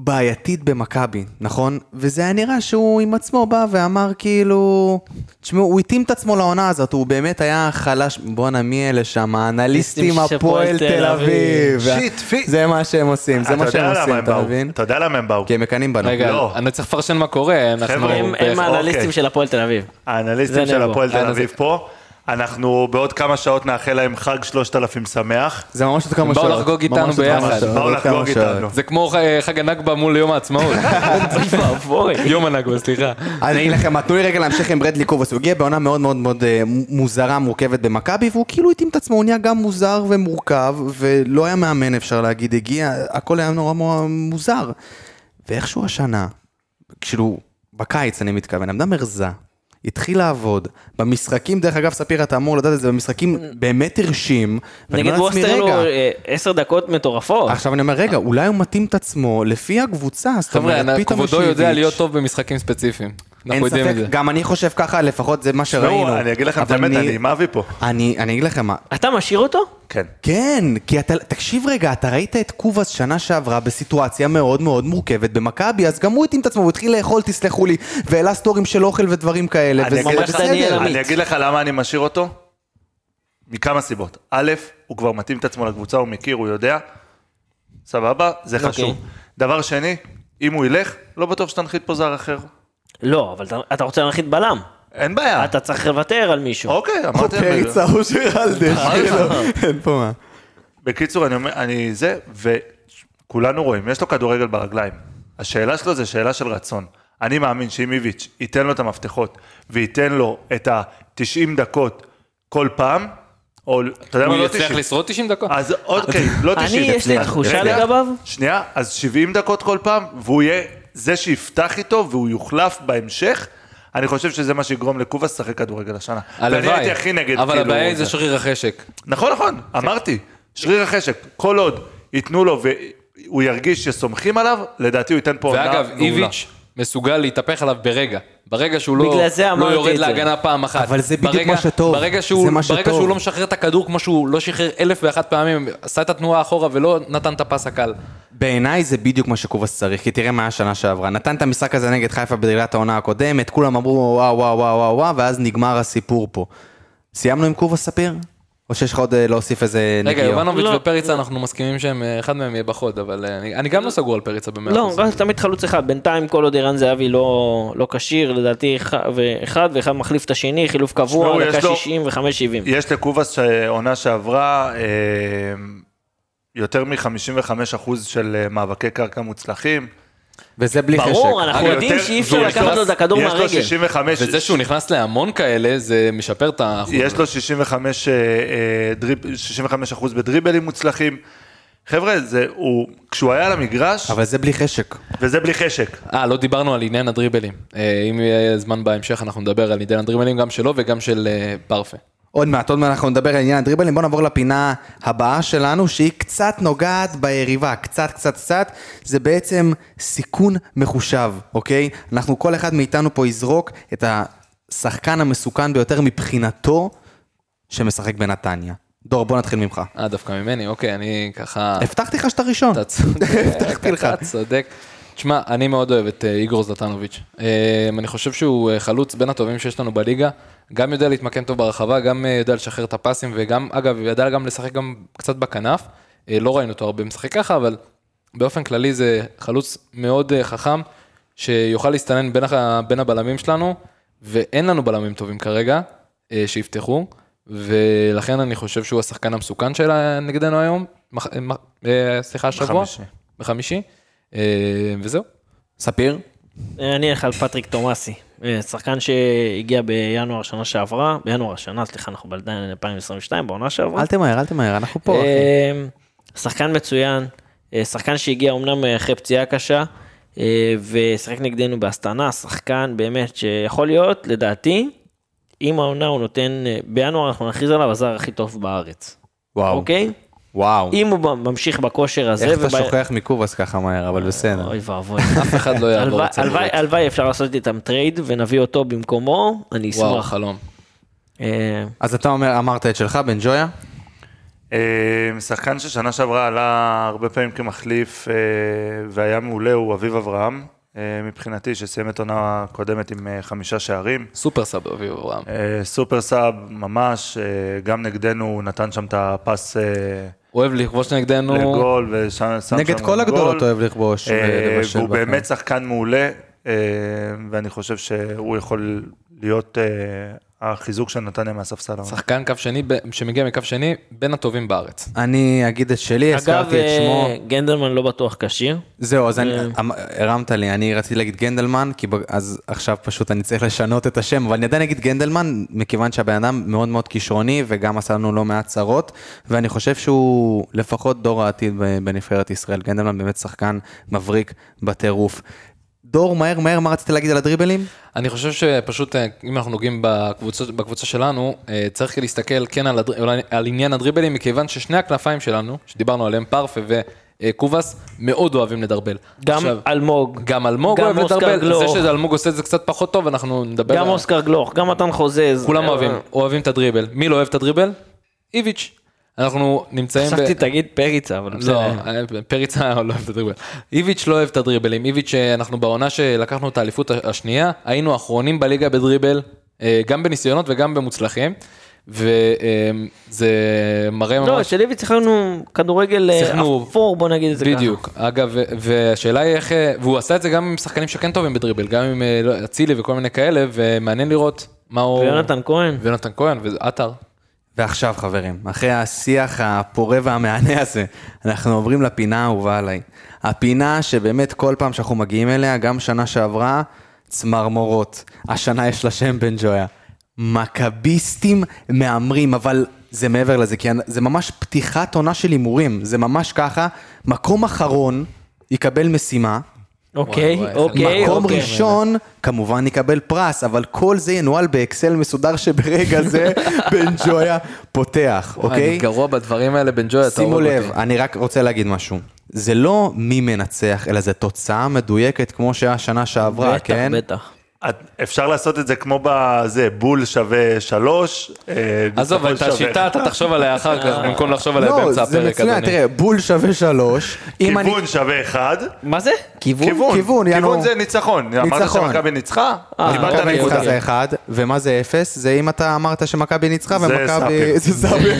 בעייתית במכבי, נכון? וזה היה נראה שהוא עם עצמו בא ואמר כאילו... תשמעו, הוא התאים את עצמו לעונה הזאת, הוא באמת היה חלש, בואנה מי אלה שם, האנליסטים של הפועל תל אביב. שיט, פי. זה מה שהם עושים, זה אתה מה יודע שהם למה עושים, הם אתה באו. מבין? כן, אתה יודע למה הם באו. כי הם מקנאים בנו. רגע, לא. אני צריך לפרשן מה קורה, אנחנו... חבר'ה, הם בערך- הם האנליסטים אוקיי. של הפועל תל אביב. האנליסטים זה של נבו. הפועל תל אנליסט. אביב פה. אנחנו בעוד כמה שעות נאחל להם חג 3,000 שמח. זה ממש עוד כמה באו שעות. לחגוג איתנו ממש עוד כמה ביחד. שעות, באו עוד כמה לחגוג שעות. איתנו. זה כמו ח- אה, חג הנכבה מול יום העצמאות. ואבוי. יום הנכבה, סליחה. אני אגיד לכם, מה, תנו לי רגע להמשיך עם ברדלי קובס, הוא הגיע בעונה מאוד מאוד מאוד אה, מוזרה, מורכבת במכבי, והוא כאילו התאים את עצמו, הוא נהיה גם מוזר ומורכב, ולא היה מאמן אפשר להגיד, הגיע, הכל היה נורא נורא מוזר. ואיכשהו השנה, כאילו, בקיץ אני מתכוון, עמדה מרזה, התחיל לעבוד, במשחקים, דרך אגב, ספיר, אתה אמור לדעת את זה, במשחקים באמת הרשים, ואני נגד אומר לעצמי, ווסטרלו רגע, לא-" אה, עשר דקות מטורפות. עכשיו אני אומר, רגע, אולי הוא מתאים את עצמו לפי הקבוצה, זאת חבר'ה, אומרת, אנ- פתאום כבודו יודע איביץ'- להיות טוב במשחקים ספציפיים. אנחנו אין יודעים את זה. ספק, גם אני חושב ככה, לפחות זה מה שראינו. תשמעו, אני אגיד לכם את אבל האמת, אני עם אבי פה. אני אני אגיד לכם מה, אתה משאיר אותו? כן. כן, כי אתה, תקשיב רגע, אתה ראית את קובאס שנה שעברה בסיטואציה מאוד מאוד מורכבת במכבי, אז גם הוא התאים את עצמו, הוא התחיל לאכול, תסלחו לי, והעלה סטורים של אוכל ודברים כאלה, אני וזה אגיד לך- דניאל בסדר. עמית. אני אגיד לך למה אני משאיר אותו, מכמה סיבות. א', הוא כבר מתאים את עצמו לקבוצה, הוא מכיר, הוא יודע, סבבה, זה חשוב. דבר שני, אם הוא ילך, לא בטוח שתנחית פה זר אחר. לא, אבל אתה- אתה רוצה להנחית בלם. אין בעיה. אתה צריך לוותר על מישהו. אוקיי, או אמרתי להם את זה. פריצה או שרלדש, אמרתי לך. אין פה מה. בקיצור, אני אומר, אני זה, וכולנו רואים, יש לו כדורגל ברגליים. השאלה שלו זה שאלה של רצון. אני מאמין שאם איביץ' ייתן לו את המפתחות, וייתן לו את ה-90 דקות כל פעם, או אתה יודע הוא מה, לא יצליח 90. לשרוד 90 דקות? אז אוקיי, לא אני, 90. יש לי אז תחושה רגע, לגביו. שנייה, אז 70 דקות כל פעם, והוא יהיה זה שיפתח איתו והוא יוחלף בהמשך. אני חושב שזה מה שיגרום לקובאס לשחק כדורגל השנה. ואני הייתי הכי נגד, אבל כאילו, הבעיה היא זה שריר החשק. נכון, נכון, כן. אמרתי, שריר החשק, כל עוד ייתנו לו והוא ירגיש שסומכים עליו, לדעתי הוא ייתן פה עונה ואגב, מעולה. איביץ' מסוגל להתהפך עליו ברגע. ברגע שהוא לא, בגלל זה לא אמרתי יורד את זה. להגנה פעם אחת. אבל זה בדיוק ברגע- מה שטוב. ברגע שהוא, זה מה שטוב. ברגע שהוא לא משחרר את הכדור כמו שהוא לא שחרר אלף ואחת פעמים, עשה את התנועה אחורה ולא נתן את הפס הקל. בעיניי זה בדיוק מה שקובאס צריך, כי תראה מה היה שנה שעברה. נתן את המשחק הזה נגד חיפה בדרילת העונה הקודמת, כולם אמרו וואו וואו וואו וואו וואו, ואז נגמר הסיפור פה. סיימנו עם קובאס ספיר? או שיש לך עוד אה, להוסיף איזה רגע, נגיעה? יובנוביץ' לא. ופריצה, אנחנו מסכימים שהם, אה, אחד מהם יהיה בחוד, אבל אה, אני אני גם לא סגור על פריצה במאה לא, אחוז. רק תמיד חלוץ אחד. בינתיים כל עוד ערן זהבי לא לא כשיר, לדעתי ח- ואחד, ואחד מחליף את השני, חילוף שמעו, קבוע, יש דקה לו- 60 ו-5.70. יש לקובאס אה, עונה שעברה אה, יותר מ-55% של אה, מאבקי קרקע מוצלחים. וזה בלי חשק. ברור, אנחנו אגב, יודעים יותר- שאי אפשר והוא לקחת לו את נכנס- הכדור יש לו מהרגל. 65... וזה שהוא נכנס להמון כאלה, זה משפר את האחוז. יש לו 65, אה, אה, דריב, 65 אחוז בדריבלים מוצלחים, חבר'ה, זה, הוא, כשהוא היה על המגרש, אבל זה בלי חשק. וזה בלי חשק. אה, לא דיברנו על עניין הדריבלים. אה, אם יהיה זמן בהמשך, אנחנו נדבר על עניין הדריבלים, גם שלו וגם של אה, פרפה. עוד מעט, עוד מעט אנחנו נדבר על עניין הדריבלים, בואו נעבור לפינה הבאה שלנו, שהיא קצת נוגעת ביריבה, קצת, קצת, קצת, זה בעצם סיכון מחושב, אוקיי? אנחנו, כל אחד מאיתנו פה יזרוק את השחקן המסוכן ביותר מבחינתו, שמשחק בנתניה. דור, בוא נתחיל ממך. אה, דווקא ממני, אוקיי, אני ככה... הבטחתי לך שאתה ראשון. אתה צודק, הבטחתי לך. אתה צודק. תשמע, אני מאוד אוהב את אה, איגור זלטנוביץ'. אה, אני חושב שהוא אה, חלוץ בין הטובים שיש לנו בליגה. גם יודע להתמקם טוב ברחבה, גם אה, יודע לשחרר את הפסים, וגם, אגב, יודע גם לשחק גם קצת בכנף. אה, לא ראינו אותו הרבה משחק ככה, אבל באופן כללי זה חלוץ מאוד אה, חכם, שיוכל להסתנן בין, הח- בין הבלמים שלנו, ואין לנו בלמים טובים כרגע, אה, שיפתחו, ולכן אני חושב שהוא השחקן המסוכן שלה נגדנו היום, מח, אה, מח, אה, סליחה, השבוע. בחמישי. בחמישי, אה, וזהו. ספיר? אני אלך על פטריק תומאסי, אה, שחקן שהגיע בינואר שנה שעברה, בינואר השנה, סליחה, אנחנו בעדיין 2022, בעונה שעברה. אל תמהר, אל תמהר, אנחנו פה, אחי. אה, שחקן מצוין, אה, שחקן שהגיע אמנם אחרי פציעה קשה, אה, ושיחק נגדנו בהסטנה, שחקן באמת שיכול להיות, לדעתי, אם העונה הוא נותן, אה, בינואר אנחנו נכריז עליו הזר הכי טוב בארץ, וואו. אוקיי? וואו. אם הוא ממשיך בכושר הזה... איך אתה וב- שוכח מקובס ככה מהר, אבל בסדר. אוי ואבוי. אף אחד לא יעבור הלוואי- אצלנו. הלוואי- הלוואי אפשר לעשות איתם טרייד ונביא אותו במקומו, אני וואו, אשמח. חלום. אה, אז אתה אומר, אמרת את שלך, בן ג'ויה? אה, שחקן ששנה שעברה עלה הרבה פעמים כמחליף אה, והיה מעולה הוא אביב אברהם, אה, מבחינתי, שסיים את עונה קודמת עם אה, חמישה שערים. סופר סאב אביב אברהם. אה, סופר סאב ממש, אה, גם נגדנו הוא נתן שם את הפס אה, אוהב לכבוש נגדנו. לגול ושם שם נגד גם כל הגדולות גול. אוהב לכבוש. אה, ולבשל והוא בכלל. באמת שחקן מעולה, אה, ואני חושב שהוא יכול להיות אה, החיזוק של נתניה מהספסל. שחקן קו שני, ב- שמגיע מקו שני, בין הטובים בארץ. אני אגיד את שלי, אגב, הזכרתי את שמו. אה, גנדלמן לא בטוח כשיר. זהו, אז אני- אמ- הרמת לי, אני רציתי להגיד גנדלמן, כי ב- אז עכשיו פשוט אני צריך לשנות את השם, אבל אני עדיין אגיד גנדלמן, מכיוון שהבן אדם מאוד מאוד כישרוני, וגם עשה לנו לא מעט צרות, ואני חושב שהוא לפחות דור העתיד ב- בנבחרת ישראל. גנדלמן באמת שחקן מבריק בטירוף. דור, מהר מהר, מה רצית להגיד על הדריבלים? אני חושב שפשוט, אה, אם אנחנו נוגעים בקבוצות- בקבוצה שלנו, אה, צריך להסתכל כן על, הדר... אולי על עניין הדריבלים, מכיוון ששני הכנפיים שלנו, שדיברנו עליהם, פרפה וקובס, מאוד אוהבים לדרבל. גם עכשיו, אלמוג, גם אלמוג גם אוהב אוסקר לדרבל, זה גלוך. שאלמוג עושה את זה קצת פחות טוב, אנחנו נדבר גם על- אוסקר גלוך, גם מתן חוזז. כולם אה, אוהבים, אוהבים את הדריבל. מי לא אוהב את הדריבל? איביץ'. אנחנו נמצאים חשבתי תגיד פריצה, אבל לא, בסדר. פריצה לא אוהב את הדריבל. איביץ' לא אוהב את הדריבלים. איביץ', אה, אנחנו בעונה שלקחנו את האליפות השנייה, היינו האחרונים בליגה בדריבל, אה, גם בניסיונות וגם במוצלחים, וזה מראה ממש... לא, של איביץ' שיחקנו כדורגל אה, שיחקנו- אפור, בוא נגיד את זה ככה. בדיוק. אגב, ו- והשאלה היא איך... אה, והוא עשה את זה גם עם שחקנים שכן טובים בדריבל, גם עם אה, לא- אצילי וכל מיני כאלה, ומעניין לראות מה הוא... ויונתן כהן. ויונתן כהן ועטר. ועכשיו חברים, אחרי השיח הפורה והמהנה הזה, אנחנו עוברים לפינה האהובה עליי. הפינה שבאמת כל פעם שאנחנו מגיעים אליה, גם שנה שעברה, צמרמורות. השנה יש לה שם בן ג'ויה. מכביסטים מהמרים, אבל זה מעבר לזה, כי זה ממש פתיחת עונה של הימורים. זה ממש ככה, מקום אחרון יקבל משימה, אוקיי, וואי, וואי, אוקיי. מקום אוקיי. ראשון, כמובן יקבל פרס, אבל כל זה ינוהל באקסל מסודר שברגע זה בן ג'ויה פותח, אני אוקיי? גרוע אוקיי. בדברים האלה, בן ג'וי, אתה שימו הורג לב, אה, אותי. אני רק רוצה להגיד משהו. זה לא מי מנצח, אלא זה תוצאה מדויקת כמו שהיה שנה שעברה, בטח, כן? בטח. את- אפשר לעשות את זה כמו בזה, בול שווה שלוש. אה, עזוב, ניצחון את שווה. השיטה אתה תחשוב עליה אחר כך, במקום לחשוב עליה לא, באמצע זה הפרק, מצוין, אדוני. תראה, בול שווה שלוש. אם אני- כיוון שווה אחד. מה זה? כיוון? כיוון, כיוון, יענו. זה ניצחון. אמרת ניצחון. שמכבי ניצחה, אה, קיבלת אוקיי, נקודה. נצחה זה אחד, ומה זה אפס? זה אם אתה אמרת שמכבי ניצחה זה ומכבי... סאפר. זה סאפיר.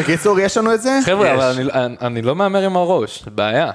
בקיצור, יש לנו את זה? חבר'ה, אבל יש. אני- אני- אני לא מהמר עם הראש, בעיה.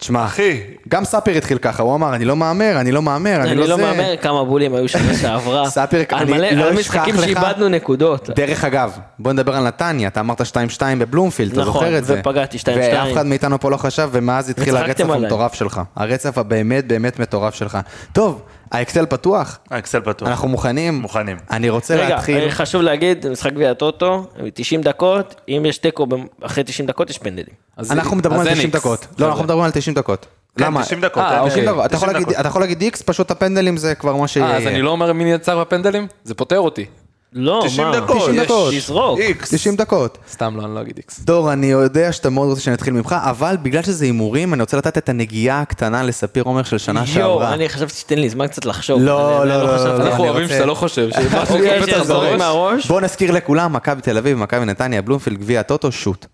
תשמע, אחי. גם סאפר התחיל ככה, הוא אמר, אני לא מהמר, אני לא מהמר, אני לא אני זה. לא מהמר כמה בולים היו שנה שעברה. ספיר, על אני מלא- לא אשכח על משחקים לך- שאיבדנו נקודות. דרך אגב, בוא נדבר על נתניה, אתה אמרת 2-2 בבלומפילד, אתה נכון, זוכר את זה. ופגעתי 2-2. ואף אחד מאיתנו פה לא חשב, ומאז התחיל וצחקתם הרצף עליי. המטורף שלך. הרצף הבאמת באמת מטורף שלך. טוב, האקסל פתוח? האקסל פתוח. אנחנו מוכנים? מוכנים. אני רוצה רגע, להתחיל. אה, חשוב להגיד, משחק גביע הטוטו, 90 דקות, אם יש תיקו ב- אחרי 90 דקות יש פנדלים. אז- אנחנו מדברים אז על אין 90 איקס. דקות. לא, אנחנו מדברים על 90 דקות. כן, למה? 90 דקות. אה, אין- אוקיי. 90 דקות. אתה יכול 90 להגיד- דקות. אתה יכול להגיד איקס, פשוט הפנדלים זה כבר מה שיהיה. אה, אז אני לא אומר מי יצר בפנדלים? זה פותר אותי. לא, 90 מה? דקות. 90 יש- דקות. לזרוק. איקס. 90 דקות. סתם לא, אני לא אגיד איקס. דור, אני יודע שאתה מאוד רוצה שנתחיל ממך, אבל בגלל שזה הימורים, אני רוצה לתת את הנגיעה הקטנה לספיר עומר של שנה יואו, שעברה. אני חשבתי שתיתן לי זמן קצת לחשוב. לא, אני- לא, אני לא, לא, חשבתי. לא. אנחנו אני אוהבים רוצה- שאתה לא חושב. שמה אוקיי, שקופץ לך שזה זורק בראש. מהראש. בואו נזכיר לכולם, מכבי תל אביב, מכבי נתניה, בלומפילד, גביע הטוטו, שוט.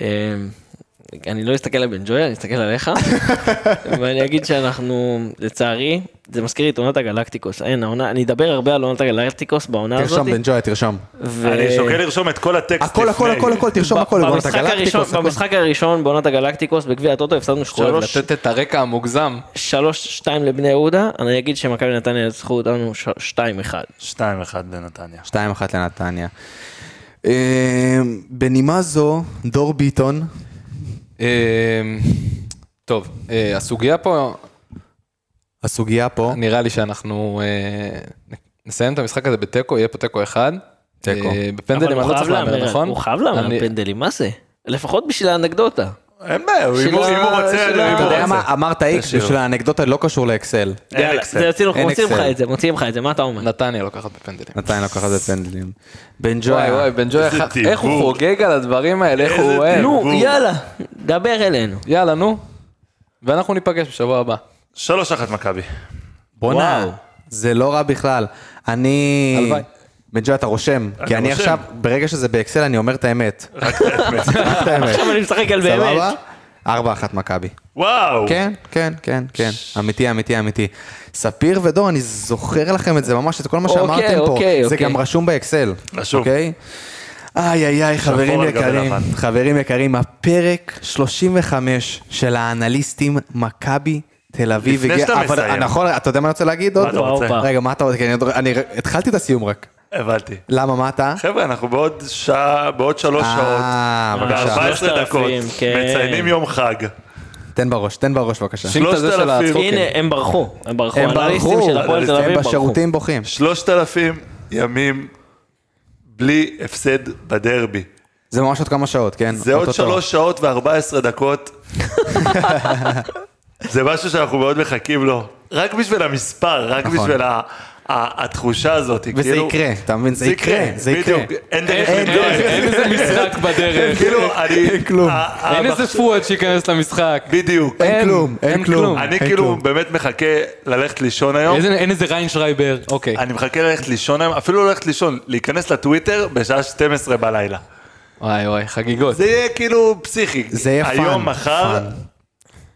אה, אני לא אסתכל על בן ג'ויה, אני אסתכל עליך, ואני אגיד שאנחנו, לצערי, זה מזכיר לי את עונת הגלקטיקוס. אין, העונה, אני אדבר הרבה על עונת הגלקטיקוס בעונה הזאת. תרשום בן ג'ויה, תרשום. ו- אני שוקל לרשום את כל הטקסט הכל, הכל, הכל, הכל, תרשום ב- הכל. במשחק בואנה, אתה הראשון- גלקטיקוס, הכל. במשחק הראשון בעונת הגלקטיקוס בגביע הטוטו הפסדנו אוהב 3 לתת את הרקע המוגזם. 3-2 לבני יהודה, אני אגיד שמכבי נתניה ניצחו אותנו ש- 2-1. 2-1 לנתניה. 2-1 לנתניה. אה, בנימה זו, דור ביטון, אמ, טוב, אה, הסוגיה פה, הסוגיה פה, נראה לי שאנחנו אה, נ- נסיים את המשחק הזה בתיקו, יהיה פה תיקו אחד. תיקו. אה, אבל בפנדלים הוא אני לא חייב צריך להמר, להמר, נכון? הוא חייב להמר על אני- פנדלים, מה זה? לפחות בשביל האנקדוטה. אין בעיה, אם הוא אם הוא רוצה, של ה- אם אתה הוא יודע רוצה. מה, אמרת איקס תשאיר. בשביל האנקדוטה, לא קשור לאקסל. אין יאללה, אקסל. זה יוצאים לך, אין מוציאים לך אקסל. את זה, מוציאים לך את זה, מה אתה אומר? נתניה לוקחת בפנדלים. נתניה לוקחת בפנדלים. בן וואי ג'ויה, וואי, בן ג'וי, איזה איך- איך הוא דיבור. חוגג על הדברים האלה, איך הוא איזה אוהב. דיבור. נו, יאללה, דבר אלינו. יאללה, נו. ואנחנו ניפגש בשבוע הבא. 3-1 מכבי. בואנה, וואו. זה לא רע בכלל. אני... הלוואי. בן ג'ויה, אתה רושם, כי אני רושם. עכשיו, ברגע שזה באקסל, אני אומר את האמת. רק את האמת. עכשיו אני משחק על סבבה? באמת. ארבע אחת מכבי. וואו. כן, כן, כן, כן. אמיתי, אמיתי, אמיתי. ספיר ודור, אני זוכר לכם את זה ממש, את כל מה אוקיי, שאמרתם פה. אוקיי, זה אוקיי. גם רשום באקסל. רשום. אוקיי? איי, איי, איי, חברים על גבי יקרים, לבן. חברים יקרים, הפרק 35 של האנליסטים, מכבי תל אביב. לפני הגיע- שאתה אבל- מסיים. נכון, אתה יודע מה אני רוצה להגיד עוד? אתה רוצה? הופה. רגע, מה אתה רוצה? כי אני עוד- אני התחלתי את הסיום רק. הבנתי. למה, מה אתה? חבר'ה, אנחנו בעוד שעה, בעוד שלוש אה, שעות, בבקשה. ב-14 דקות, 3,000, כן. מציינים יום חג. תן בראש, תן בראש בבקשה. שים את הזה של 3,000. הצחוק. הנה, הם ברחו, הם ברחו, אוקיי. הם האנליסטים ברחו. של הפועל תל הם אביב ברחו. בשירותים בוכים. 3,000 ימים בלי הפסד בדרבי. זה ממש עוד כמה שעות, כן? זה עוד אוטוטו. שלוש שעות ו-14 דקות. זה משהו שאנחנו מאוד מחכים לו. רק בשביל המספר, רק נכון. בשביל ה- ה- התחושה הזאת. כאילו- וזה יקרה, אתה מבין? זה יקרה, זה יקרה. בדיוק, אין דרך אין למנוע את אין- זה. אין איזה משחק בדרך. כאילו, אני... כלום. ה- ה- אין איזה פואד שייכנס למשחק. בדיוק. אין כלום, אין אין כלום. כלום. אני אין כאילו כלום. באמת מחכה ללכת לישון היום. איזה- אין איזה ריינשרייבר. אוקיי. לא. אני מחכה ללכת לישון היום, אפילו לא ללכת לישון, להיכנס לטוויטר בשעה 12 בלילה. וואי וואי, חגיגות. זה יהיה כאילו פסיכי. זה יהיה פאן. היום, מחר, פאן.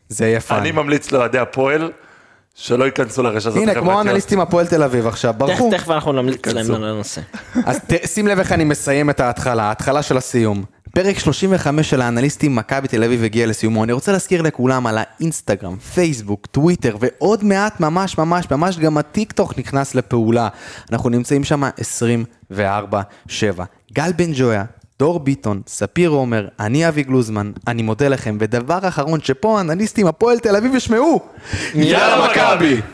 זה יהיה פאן. אני ממליץ לאוהדי הפועל שלא ייכנסו לרשת הזאת. הנה, כמו האנליסטים הפועל תל אביב עכשיו, ברחו. תכף- תכף אנחנו נמליץ להם על הנושא. אז ת- שים לב איך אני מסיים את ההתחלה, ההתחלה של הסיום. פרק 35 של האנליסטים, מכבי תל אביב הגיע לסיומו. אני רוצה להזכיר לכולם על האינסטגרם, פייסבוק, טוויטר, ועוד מעט ממש ממש ממש גם הטיקטוק נכנס לפעולה. אנחנו נמצאים שם 24-7. גל בן ג'ויה, דור ביטון, ספיר עומר, אני אבי גלוזמן, אני מודה לכם, ודבר אחרון שפה האנליסטים הפועל תל אביב ישמעו. יאללה מכבי!